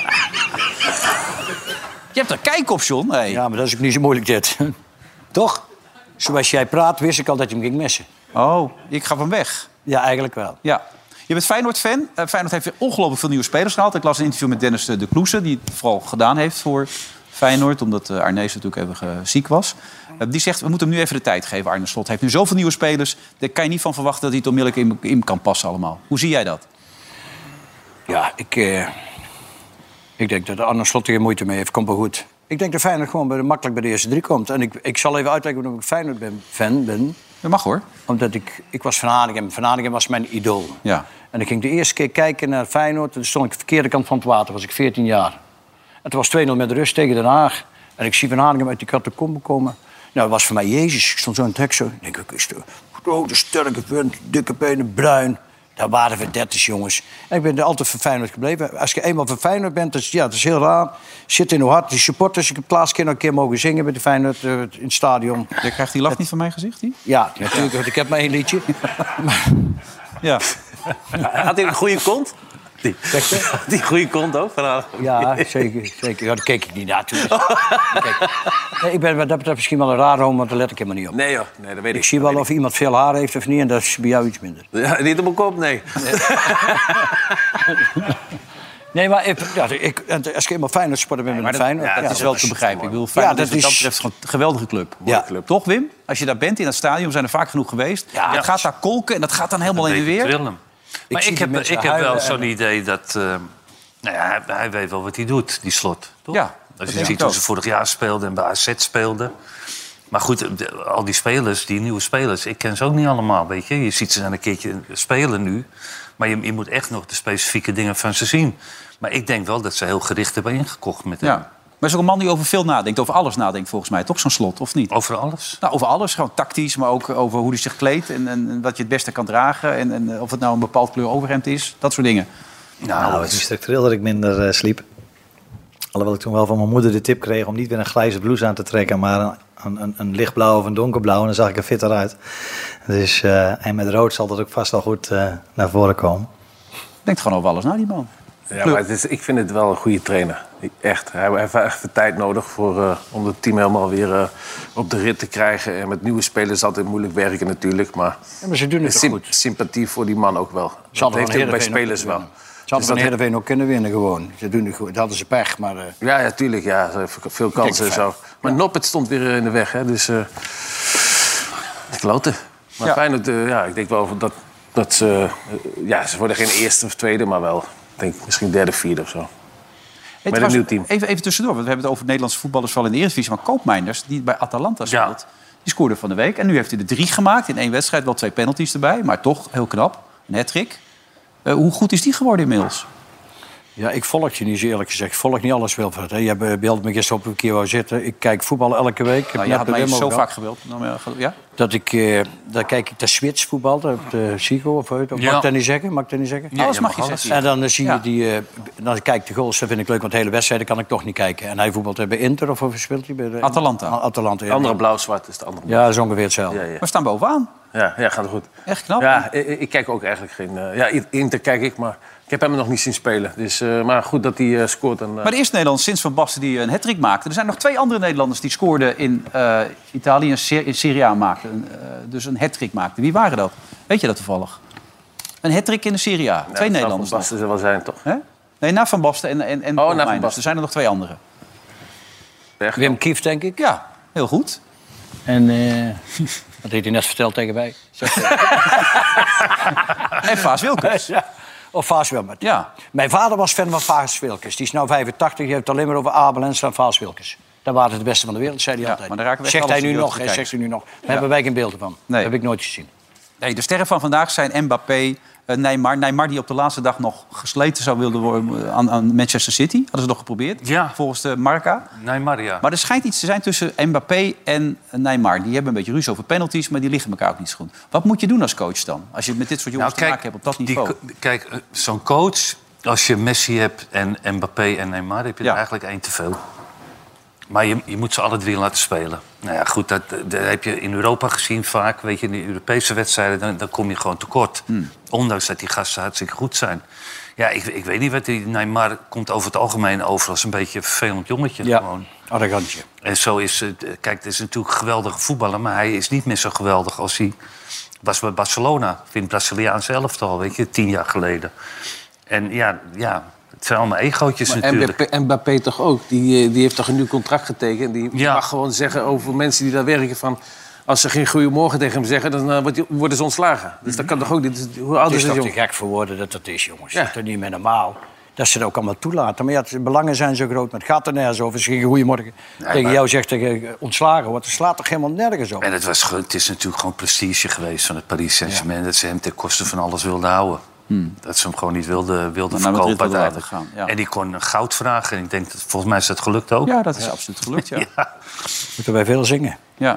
B: Je hebt er kijk op, John. Hey.
C: Ja, maar dat is ook niet zo moeilijk dit. Toch? Zoals jij praat, wist ik al dat je hem ging missen.
B: Oh, ik ga van weg.
C: Ja, eigenlijk wel.
B: Ja. Je bent Feyenoord-fan. Eh, Feyenoord heeft weer ongelooflijk veel nieuwe spelers gehaald. Ik las een interview met Dennis eh, de Kloese, die het vooral gedaan heeft voor Feyenoord. Omdat eh Arnees natuurlijk even eh, ziek was. Eh, die zegt, we moeten hem nu even de tijd geven, Arne Slot. Hij heeft nu zoveel nieuwe spelers. Daar kan je niet van verwachten dat hij het onmiddellijk in, in kan passen allemaal. Hoe zie jij dat?
C: Ja, ik, eh, ik denk dat Arne Slot er geen moeite mee heeft. Komt wel goed. Ik denk dat Feyenoord gewoon bij de- makkelijk bij de eerste drie komt. En ik, ik zal even uitleggen waarom ik Feyenoord ben, fan ben.
B: Dat mag hoor.
C: Omdat ik, ik was Van Hanegem. Van Hanegem was mijn idool.
B: Ja.
C: En ik ging de eerste keer kijken naar Feyenoord. En toen stond ik de verkeerde kant van het water. was ik 14 jaar. Het was 2-0 met rust tegen Den Haag. En ik zie Van Hanegem uit die catacombe komen. Nou, dat was voor mij Jezus. Ik stond zo in het hek zo. Ik denk, ik is de grote, sterke vent, dikke benen, bruin. Daar waren we dertig jongens. En ik ben er altijd voor Feyenoord gebleven. Als je eenmaal voor Feyenoord bent, dat is, ja, dat is heel raar. Zit in hoe hart. Die supporters, ik heb het laatste keer nog een keer mogen zingen bij de Feyenoord eh, in het stadion.
B: Je krijgt die lach niet van mijn gezicht, die?
C: Ja, natuurlijk, want ik heb maar één liedje.
B: Ja.
I: Had hij een goede kont?
D: Die, die goede kont ook vanavond.
C: Ja, zeker. zeker. Ja, daar keek ik niet naar toen. Kijk, nee, ik ben wat dat betreft misschien wel een raar homo, want daar let ik helemaal niet op.
D: Nee joh, nee, dat weet ik.
C: Ik zie wel of iemand veel haar heeft of niet, en dat is bij jou iets minder.
D: Ja, niet op mijn kop, nee.
C: Nee, maar ik, ja, ik, en als ik eenmaal Feyenoord supporter ben, ben ik Feyenoord.
B: Ja, dat is wel te begrijpen. Ik bedoel, Feyenoord is wat dat betreft gewoon een geweldige club.
C: Ja.
B: club. Toch, Wim? Als je daar bent in dat stadion, we zijn er vaak genoeg geweest.
D: Ja.
B: Het gaat daar kolken en dat gaat dan helemaal
D: Dat
B: in de
D: weet ik
B: weer.
D: wel, hem. Maar
B: zie
D: ik
B: die
D: heb,
B: mensen
D: ik heb
B: huilen
D: wel
B: en-
D: zo'n idee dat... eh, nou ja, hij, hij weet wel wat hij doet, die slot. Toch?
B: Ja, dat
D: Als
B: denk
D: je
B: ik
D: ziet hoe
B: ook.
D: ze vorig jaar speelden en bij AZ speelden. Maar goed, eh, de- al die spelers, die nieuwe spelers... ik ken ze ook niet allemaal, weet je. Je ziet ze dan een keertje spelen nu. Maar je, je moet echt nog de specifieke dingen van ze zien. Maar ik denk wel dat ze heel gericht hebben ingekocht met hem.
B: Ja. Maar het is ook een man die over veel nadenkt. Over alles nadenkt volgens mij, toch? Zo'n slot, of niet?
D: Over alles?
B: Nou, over alles. Gewoon tactisch, maar ook over hoe hij zich kleedt. En, en, en wat je het beste kan dragen. En, en eh, of het nou een bepaald kleur overhemd is. Dat soort dingen.
T: Nou, het is structureel dat ik minder eh, sliep. Alhoewel ik toen wel van mijn moeder de tip kreeg om niet weer een grijze blouse aan te trekken, maar een, een, een, een lichtblauw of een donkerblauw. En dan zag ik er fitter uit. Dus, eh, en met rood zal dat ook vast wel goed eh, naar voren komen.
B: Denkt gewoon over alles na, die man.
E: Ja, maar het is, ik vind het wel een goede trainer. Ik- Echt. Hij heeft echt de tijd nodig voor, eh, om het team helemaal weer eh, op de rit te krijgen. En met nieuwe spelers altijd moeilijk werken natuurlijk. Maar,
C: Ja, maar ze doen het
E: sym- sympathie voor die man ook wel. dat
C: hadden
E: heeft
C: van
E: hij ook bij
C: Heerenveen ook
E: spelers wel. Dus
C: kunnen
B: Dus
C: Ze hadden van
E: dat-
C: Heerenveen ook kunnen winnen gewoon. Ze doen het goed. Dat hadden ze pech, maar... eh,
E: Ja, ja, tuurlijk. Ja, ze hebben veel kansen en
C: Kijk,
E: zo. Maar Noppet stond weer in de weg, hè. Dus... eh kloten. Maar
B: Ja.
E: Feyenoord, eh, ja, ik denk wel dat... dat ze, eh, ja, ze worden geen eerste of tweede, maar wel... Ik denk misschien derde, vierde of zo.
B: Hey,
E: Met een
B: trouwens,
E: nieuw team.
B: Even, even tussendoor, want we hebben het over Nederlandse voetballers vooral in de Eredivisie. Maar Koopmijnders, die bij Atalanta speelt, die scoorde van de week. En nu heeft hij er drie gemaakt in één wedstrijd. Wel twee penalties erbij, maar toch heel knap. Een hat-trick. Eh, hoe goed is die geworden inmiddels? Nou,
C: Ja, ik volg je niet, zo eerlijk gezegd. Ik volg niet alles, Wilfred. hè. Je hebt, eh, beeld me gisteren op een keer wou zitten. Ik kijk voetbal elke week. Ik heb
B: Nou,
C: net
B: je had
C: de
B: mij
C: Wim ook
B: zo
C: gehad.
B: vaak gebeld. Nou, maar, Ja?
C: Dat ik, eh, daar kijk ik naar Zwits voetbal, op de Zico of hoe heet dat?
B: Ja.
C: Mag ik dat niet zeggen? Mag ik dat niet zeggen?
B: Ja, Alles je mag mag je alles zeggen. zeggen.
C: En dan eh, zie je die, eh, dan kijk ik de goals, dat vind ik leuk, want de hele wedstrijden kan ik toch niet kijken. En hij voetbalt eh, bij Inter of waar speelt hij bij de-
B: Atalanta.
C: A- Atalanta.
E: De andere blauw-zwart is de andere.
C: Ja, dat is ongeveer hetzelfde.
E: ja.
B: We staan bovenaan.
E: Ja, ja, gaat goed.
B: Echt knap.
E: Ja, ik, ik kijk ook eigenlijk geen... eh, ja, I- Inter kijk ik, maar ik heb hem nog niet zien spelen. Dus, eh, maar goed dat hij eh, scoort. En, eh,
B: Maar de eerste Nederlander sinds Van Basten die een hat-trick maakte. Er zijn nog twee andere Nederlanders die scoorden in eh, Italië en Ser- in Serie A maakten. Een, eh, dus een hat-trick maakten. Wie waren dat? Weet je dat toevallig? Een hat-trick in de Serie A.
E: dat
B: twee
E: zou
B: Nederlanders.
E: Van Basten
B: nog.
E: ze wel zijn, toch? Oh,
B: Hè? Nee, na Van Basten en, en, en
E: na Van
B: Koopmeiners.
E: Basten.
B: Er zijn er nog twee anderen.
C: Wim Kieft, denk ik.
B: Ja, heel goed.
C: En eh dat heeft hij net verteld tegen mij.
B: en Vaas Wilkes.
C: Of Vaas Wilkes.
B: Ja.
C: Mijn vader was fan van Vaas Wilkes. Die is nu 85, die heeft het alleen maar over Abel en Stan Vaas Wilkes. Dat waren het beste van de wereld, zei hij altijd.
B: maar daar raken we echt
C: zegt hij
B: alles
C: nu
B: in beeld
C: nog,
B: te
C: hè,
B: kijken.
C: zegt hij nu nog. Daar
B: Ja.
C: hebben wij geen beelden van.
B: Nee.
C: Dat heb ik nooit gezien.
B: Nee, de sterren van vandaag zijn Mbappé, eh, Neymar. Neymar die op de laatste dag nog gesleten zou willen worden eh, aan, aan Manchester City. Hadden ze nog geprobeerd, ja. volgens de Marca.
D: Neymar, ja.
B: Maar er schijnt iets te zijn tussen Mbappé en Neymar. Die hebben een beetje ruzie over penalties, maar die liggen elkaar ook niet zo goed. Wat moet je doen als coach dan? Als je met dit soort jongens te maken hebt op dat niveau.
D: Nou, Die, co- kijk, eh, zo'n coach, als je Messi hebt en Mbappé en Neymar, heb je er eigenlijk één te veel. Maar je, je moet ze alle drie laten spelen. Nou ja, goed, dat, dat heb je in Europa gezien vaak. Weet je, in de Europese wedstrijden, dan, dan kom je gewoon tekort. Ondanks dat die gasten hartstikke goed zijn. Ja, ik, ik weet niet wat die Neymar komt over het algemeen over als een beetje een vervelend jongetje.
C: Ja,
D: Gewoon.
C: arrogantje.
D: En zo is het. eh, Kijk, het is natuurlijk een geweldige voetballer, maar hij is niet meer zo geweldig als hij was bij Barcelona. In het Braziliaanse elftal, weet je, tien jaar geleden. En ja, ja het zijn allemaal egootjes
E: Maar
D: natuurlijk.
E: Mbappé, Mbappé toch ook? Die, eh, die heeft toch een nieuw contract getekend? Die
D: Ja.
E: mag gewoon zeggen over mensen die daar werken van... als ze geen goeiemorgen tegen hem zeggen, dan eh, wordt die- worden ze ontslagen. Dus dat kan toch ook niet? Dus Hoe oud
C: Het
E: is
C: is
E: dat
C: toch
E: jong?
C: te gek voor woorden dat dat is, jongens. Dat is toch niet meer normaal. Dat ze dat ook allemaal toelaten. Maar ja, de belangen zijn zo groot. Maar het gaat er nergens over. Ze gingen goeiemorgen tegen
D: maar-
C: jou zegt tegen eh, ontslagen wordt. Dat slaat toch helemaal nergens
B: Oh.
C: op.
D: En het, was, gewoon- het is natuurlijk gewoon prestige geweest van het Paris Saint-Germain... dat ze hem ten koste van alles wilden houden. Dat ze hem gewoon niet wilden wilde
B: Hmm. Maar naar Madrid
D: verkopen
B: wilden laten
D: uiteindelijk. En die kon eh, goud vragen. En ik denk, dat, volgens mij is dat gelukt ook.
B: Ja, dat is absoluut gelukt, ja.
C: Moeten wij veel zingen.
B: Ja.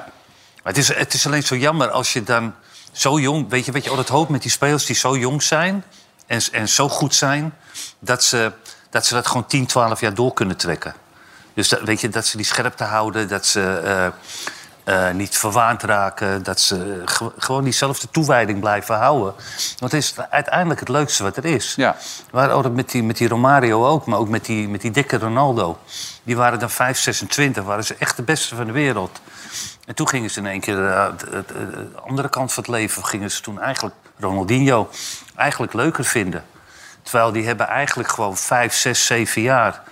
D: Maar het is, het is alleen zo jammer als je dan zo jong... Weet je wat je altijd hoopt met die spelers die zo jong zijn... en, en zo goed zijn, dat ze, dat ze dat gewoon 10, 12 jaar door kunnen trekken. Dus dat, weet je, dat ze die scherpte houden, dat ze... eh, eh, niet verwaand raken. Dat ze ge- gewoon diezelfde toewijding blijven houden. Want dat is uiteindelijk het leukste wat er is.
B: Ja.
D: Waar, oh, dat met, die, met die Romario ook, maar ook met die, met die dikke Ronaldo. Die waren dan 5, 26, waren ze echt de beste van de wereld. En toen gingen ze in één keer eh, de, de- de andere kant van het leven... gingen ze toen eigenlijk Ronaldinho eigenlijk leuker vinden. Terwijl die hebben eigenlijk gewoon 5, 6, 7 jaar...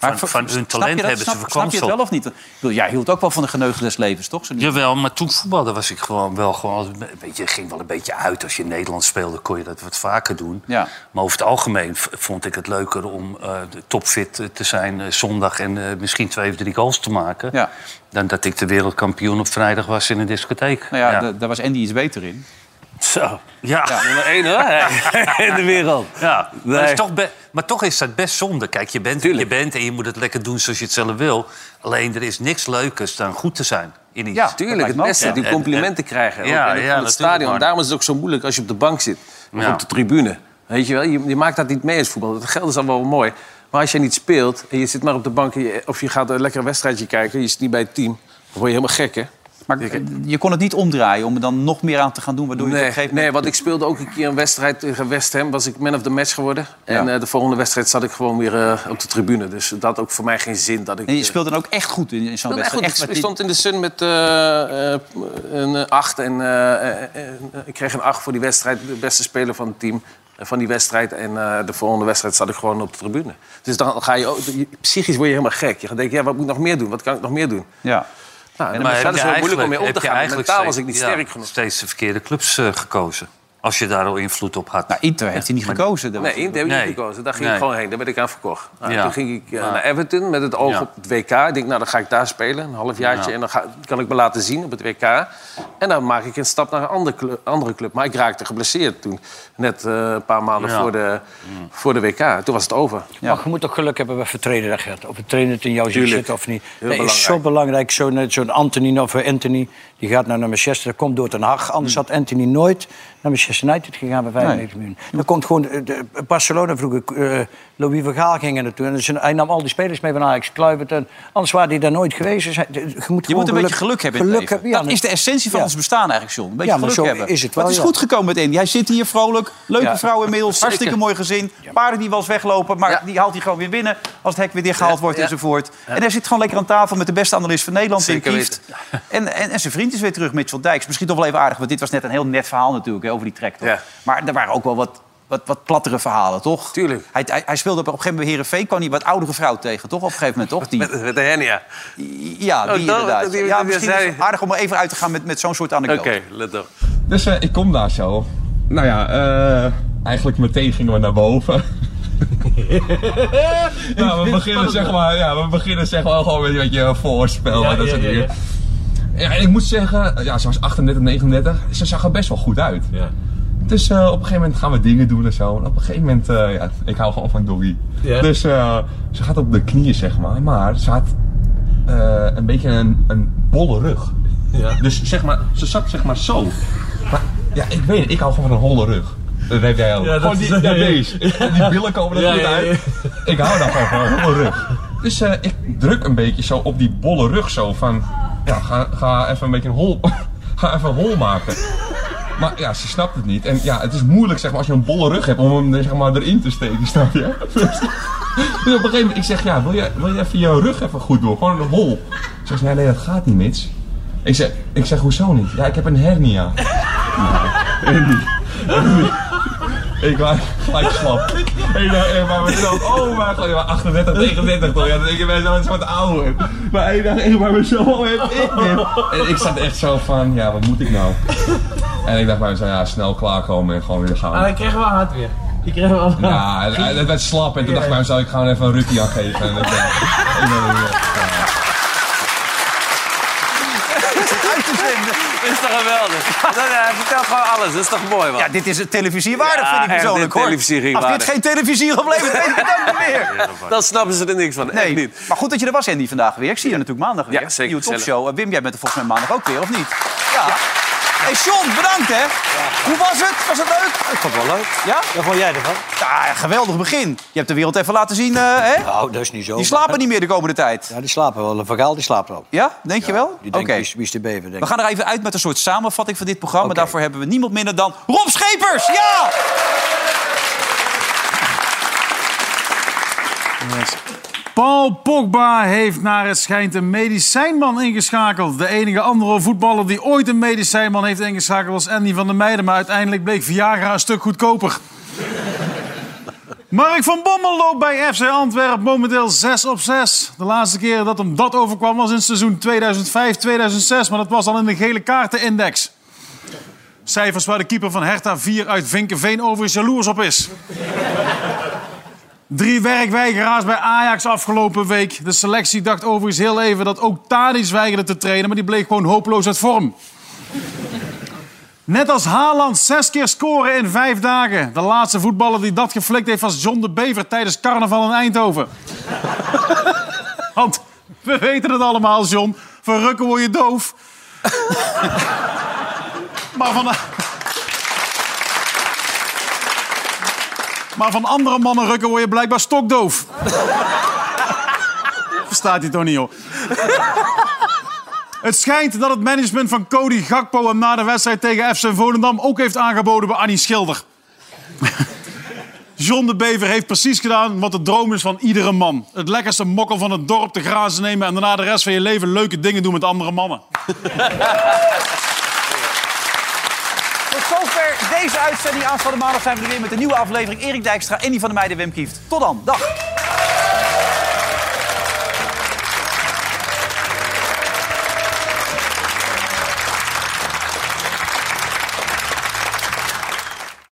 D: Van,
B: ver-
D: van hun
B: snap je
D: talent
B: dat?
D: hebben
B: Snap- Snap je
D: ze
B: het
D: verkwanseld.
B: wel of niet? Ik bedoel, jij hield ook wel van de geneugde des levens, toch? Zo niet?
D: Jawel, maar toen voetbalde was ik gewoon wel gewoon. Een beetje, ging wel een beetje uit. Als je in Nederland speelde, kon je dat wat vaker doen.
B: Ja.
D: Maar over het algemeen v- vond ik het leuker om eh, topfit eh, te zijn eh, zondag en eh, misschien twee of drie goals te maken. Dan dat ik de wereldkampioen op vrijdag was in een discotheek.
B: Nou ja, da- daar was Andy iets beter in.
D: Zo. Ja, nummer één hoor. in de wereld. Ja. Maar, dat is toch be- maar toch is dat best zonde. Kijk, je bent, wie je bent en je moet het lekker doen zoals je het zelf wil. Alleen er is niks leukers dan goed te zijn in iets.
E: Ja, tuurlijk. Het beste, die complimenten krijgen. ook in het- van het stadion. Daarom is het ook zo moeilijk als je op de bank zit. Of
D: Ja.
E: op de tribune. Weet je wel, je, je maakt dat niet mee als voetbal. Dat geld is allemaal wel mooi. Maar als je niet speelt en je zit maar op de bank... en je- of je gaat een lekker wedstrijdje kijken... je zit niet bij het team, dan word je helemaal gek, hè?
B: Maar je kon het niet omdraaien om er dan nog meer aan te gaan doen... waardoor je
E: nee,
B: het op een gegeven
E: Nee, want ik speelde ook een keer een wedstrijd tegen West Ham. Was ik man of the match geworden.
B: Ja.
E: En eh, de volgende wedstrijd zat ik gewoon weer eh, op de tribune. Dus dat had ook voor mij geen zin. Dat ik,
B: En je
E: eh,
B: speelt dan ook echt goed in, in zo'n
E: speelde echt
B: wedstrijd.
E: goed.
B: met
E: Ik
B: die-
E: stond in de Sun met eh, eh, een 8 en eh, eh, eh, ik kreeg een 8 voor die wedstrijd. De beste speler van het team eh, van die wedstrijd. En eh, de volgende wedstrijd zat ik gewoon op de tribune. Dus dan ga je ook, je- psychisch word je helemaal gek. Je gaat denken, ja, wat moet ik nog meer doen? Wat kan ik nog meer doen?
B: Ja.
E: Nou, en
D: Maar
E: dat
D: heb
E: is
D: je
E: wel moeilijk om
D: eigenlijk-
E: mee om
D: heb
E: te
D: je
E: gaan.
D: eigenlijk
E: Mentaal was ik
D: steeds-
E: niet
D: ja,
E: sterk genoeg.
D: steeds de verkeerde clubs eh, gekozen. Als je daar al invloed op had. Nou,
B: Inter heeft hij niet gekozen.
E: Nee, Inter heb ik niet gekozen. Daar ging ik gewoon heen. Daar werd ik aan verkocht. Nou,
D: Ja.
E: Toen ging ik eh,
D: Maar-
E: naar Everton met het oog
D: Ja.
E: op het WK. Ik denk, nou, dan ga ik daar spelen. Een halfjaartje.
D: Ja.
E: En dan ga- kan ik me laten zien op het WK. En dan maak ik een stap naar een andere club. Andere club. Maar ik raakte geblesseerd toen. Net eh, een paar maanden
C: Ja.
E: voor, de, voor de WK. Toen was het over.
C: Maar je moet toch geluk hebben met trainer dat gaat. Of een trainer het in jou ziet
E: Tuurlijk.
C: zitten of niet.
E: Heel
C: dat is
E: belangrijk.
C: zo belangrijk. Zo'n net zo'n Anthony of eh, Anthony, die gaat nou naar Manchester. Dat komt door Den Haag.
E: Hm.
C: Anders had Anthony nooit naar Manchester United gegaan bij 95 miljoen. Dan komt gewoon... eh, de- Barcelona vroeger, eh, Louis van Gaal ging er naartoe. En dus hij nam al die spelers mee van Ajax, Kluivert. En, anders waren die daar nooit geweest. Dus hij- je moet,
B: Je moet een beetje geluk hebben in het leven.
C: ja,
B: dat is de essentie van
C: ja.
B: ons bestaan eigenlijk, John. Een beetje
C: Ja, maar
B: geluk
C: zo
B: hebben.
C: is
B: maar
C: het wel,
B: het is
C: ja.
B: goed gekomen met Andy. Hij zit hier vrolijk. Leuke
C: Ja.
B: vrouw inmiddels. Hartstikke mooi gezin. Paarden die wel eens weglopen, maar die haalt hij gewoon weer binnen... als het hek weer dichtgehaald wordt enzovoort. En hij zit gewoon lekker aan tafel met de beste analist van Nederland. Wim
E: Zeker
B: Kieft. En, en, en zijn vriend is weer terug, Mitchell Dijks. Misschien toch wel even aardig, want dit was net een heel net verhaal natuurlijk... Hè, over die trek. Maar er waren ook wel wat... Wat, wat plattere verhalen, toch? Tuurlijk. Hij, hij, hij speelde op een gegeven moment bij Herenveen, kwam hij wat oudere vrouw tegen, toch? Op een gegeven moment, toch? Die...
E: Met, met de hernia.
B: Ja, die
E: Oh, dat-
B: inderdaad.
E: die-
B: ja,
E: die-
B: misschien
E: zei-
B: is het aardig om er even uit te gaan met, met zo'n soort anekdote.
E: let op.
R: Dus eh, ik kom daar zo. Nou ja, eh, eigenlijk meteen gingen we naar boven. nou, we beginnen zeg maar, ja, we beginnen zeg maar gewoon met een beetje voorspel
U: Ja,
R: en dat
U: ja,
R: soort
U: ja,
R: dingen. Ja, ik moet zeggen, ja, ze was 38, 39. Ze zag er best wel goed uit. Dus eh, op een gegeven moment gaan we dingen doen en zo. En op een gegeven moment, eh, ja, ik hou gewoon van doggy.
U: Ja.
R: Dus eh, ze gaat op de knieën, zeg maar. Maar ze had eh, een beetje een, een bolle rug. Dus zeg maar, ze zat zeg maar zo. Maar ja, ik weet het, ik hou gewoon van een holle rug. Eh, Dat weet jij ook.
U: Ja, dat
R: gewoon die,
U: is-
R: ja, deze. Die billen komen er
U: Ja,
R: goed
U: ja, ja.
R: uit. Ik hou daar gewoon van, een holle rug. Dus eh, ik druk een beetje zo op die bolle rug zo van... Ja, ga, ga even een beetje een hol... Ga even een hol maken. Maar ja, ze snapt het niet. En ja, het is moeilijk zeg maar, als je een bolle rug hebt om hem er, zeg maar, erin te steken, snap je? Dus op een gegeven moment, ik zeg ja, wil je, wil je even je rug even goed doen? Gewoon een hol. Ze zegt, nee, nee, dat gaat niet, Mits. Ik zeg, ik zeg, hoezo niet? Ja, ik heb een hernia. Nou, Andy, Andy. Ik was gelijk slap. Ik dacht, eh, maar we zelf, oh, maar gelijk, maar 38, 39 toch? Ja, ik ben zo'n soort ouder. Maar ik dacht, eh, maar mezelf, oh, heb ik dit? En ik zat echt zo van, ja, wat moet ik nou? En ik dacht bij mezelf, ja, snel klaarkomen en gewoon weer
U: Ah,
R: gaan.
U: ik kreeg wel hard weer. Ik kreeg wel hard.
R: Ja, het- het werd slap en toen dacht ik bij mezelf, ik ga gewoon even een rukkie aan geven. En ik, eh, ik ben er weer.
E: Dat is toch geweldig? Dat, eh, hij vertelt gewoon alles. Dat is toch mooi, man?
B: Ja, dit is het televisiewaardig, vind ik persoonlijk, hoor. Als dit geen televisie oplevert, weet ik het ook niet meer.
E: Dan snappen ze er niks van.
B: Nee, maar goed dat je er was, Andy, vandaag weer. Ik zie je natuurlijk maandag weer.
E: Ja, zeker,
B: Nieuwe
E: gezellig.
B: topshow. Eh, Wim, jij bent er volgens mij maandag ook weer, of niet? Ja. Hey, Sean, bedankt hè. Hoe was het? Was het leuk?
C: Ik vond het wel leuk.
B: Ja?
C: Wat vond jij ervan?
B: Ja, geweldig begin. Je hebt de wereld even laten zien, eh, hè?
C: Nou, dat is niet zo.
B: Die slapen niet meer de komende tijd.
C: Ja, die slapen wel. Van Gaal die slaapt al.
B: Ja, denk je wel?
C: Die
B: Oké.
C: denkt, wie, is, wie is de bever? Denk
B: We gaan er even uit met een soort samenvatting van dit programma. Daarvoor hebben we niemand minder dan Rob Schepers. Ja!
P: Yes. Paul Pogba heeft naar het schijnt een medicijnman ingeschakeld. De enige andere voetballer die ooit een medicijnman heeft ingeschakeld was Andy van der Meijden. Maar uiteindelijk bleek Viagra een stuk goedkoper. Mark van Bommel loopt bij FC Antwerpen momenteel 6 op 6. De laatste keer dat hem dat overkwam was in het seizoen 2005-2006. Maar dat was al in de gele kaartenindex. Cijfers waar de keeper van Hertha 4 uit Vinkenveen overigens jaloers op is. Drie werkweigeraars bij Ajax afgelopen week. De selectie dacht overigens heel even dat ook Tadic weigerde te trainen... maar die bleek gewoon hopeloos uit vorm. Net als Haaland zes keer scoren in vijf dagen. De laatste voetballer die dat geflikt heeft was John de Bever... tijdens carnaval in Eindhoven. Want we weten het allemaal, John. Van rukken word je doof. maar van... Maar van andere mannen rukken word je blijkbaar stokdoof. Verstaat hij toch niet, joh? Het schijnt dat het management van Cody Gakpo hem na de wedstrijd tegen FC Volendam ook heeft aangeboden bij Annie Schilder. John de Bever heeft precies gedaan wat de droom is van iedere man. Het lekkerste mokkel van het dorp te grazen nemen en daarna de rest van je leven leuke dingen doen met andere mannen.
B: Tot zover deze uitzending. Aanstaande maandag zijn we er weer met een nieuwe aflevering. Erik Dijkstra, Andy van der Meijden, Wim Kieft. Tot dan. Dag.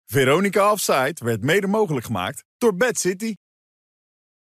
A: Veronica Offside werd mede mogelijk gemaakt door Bad City.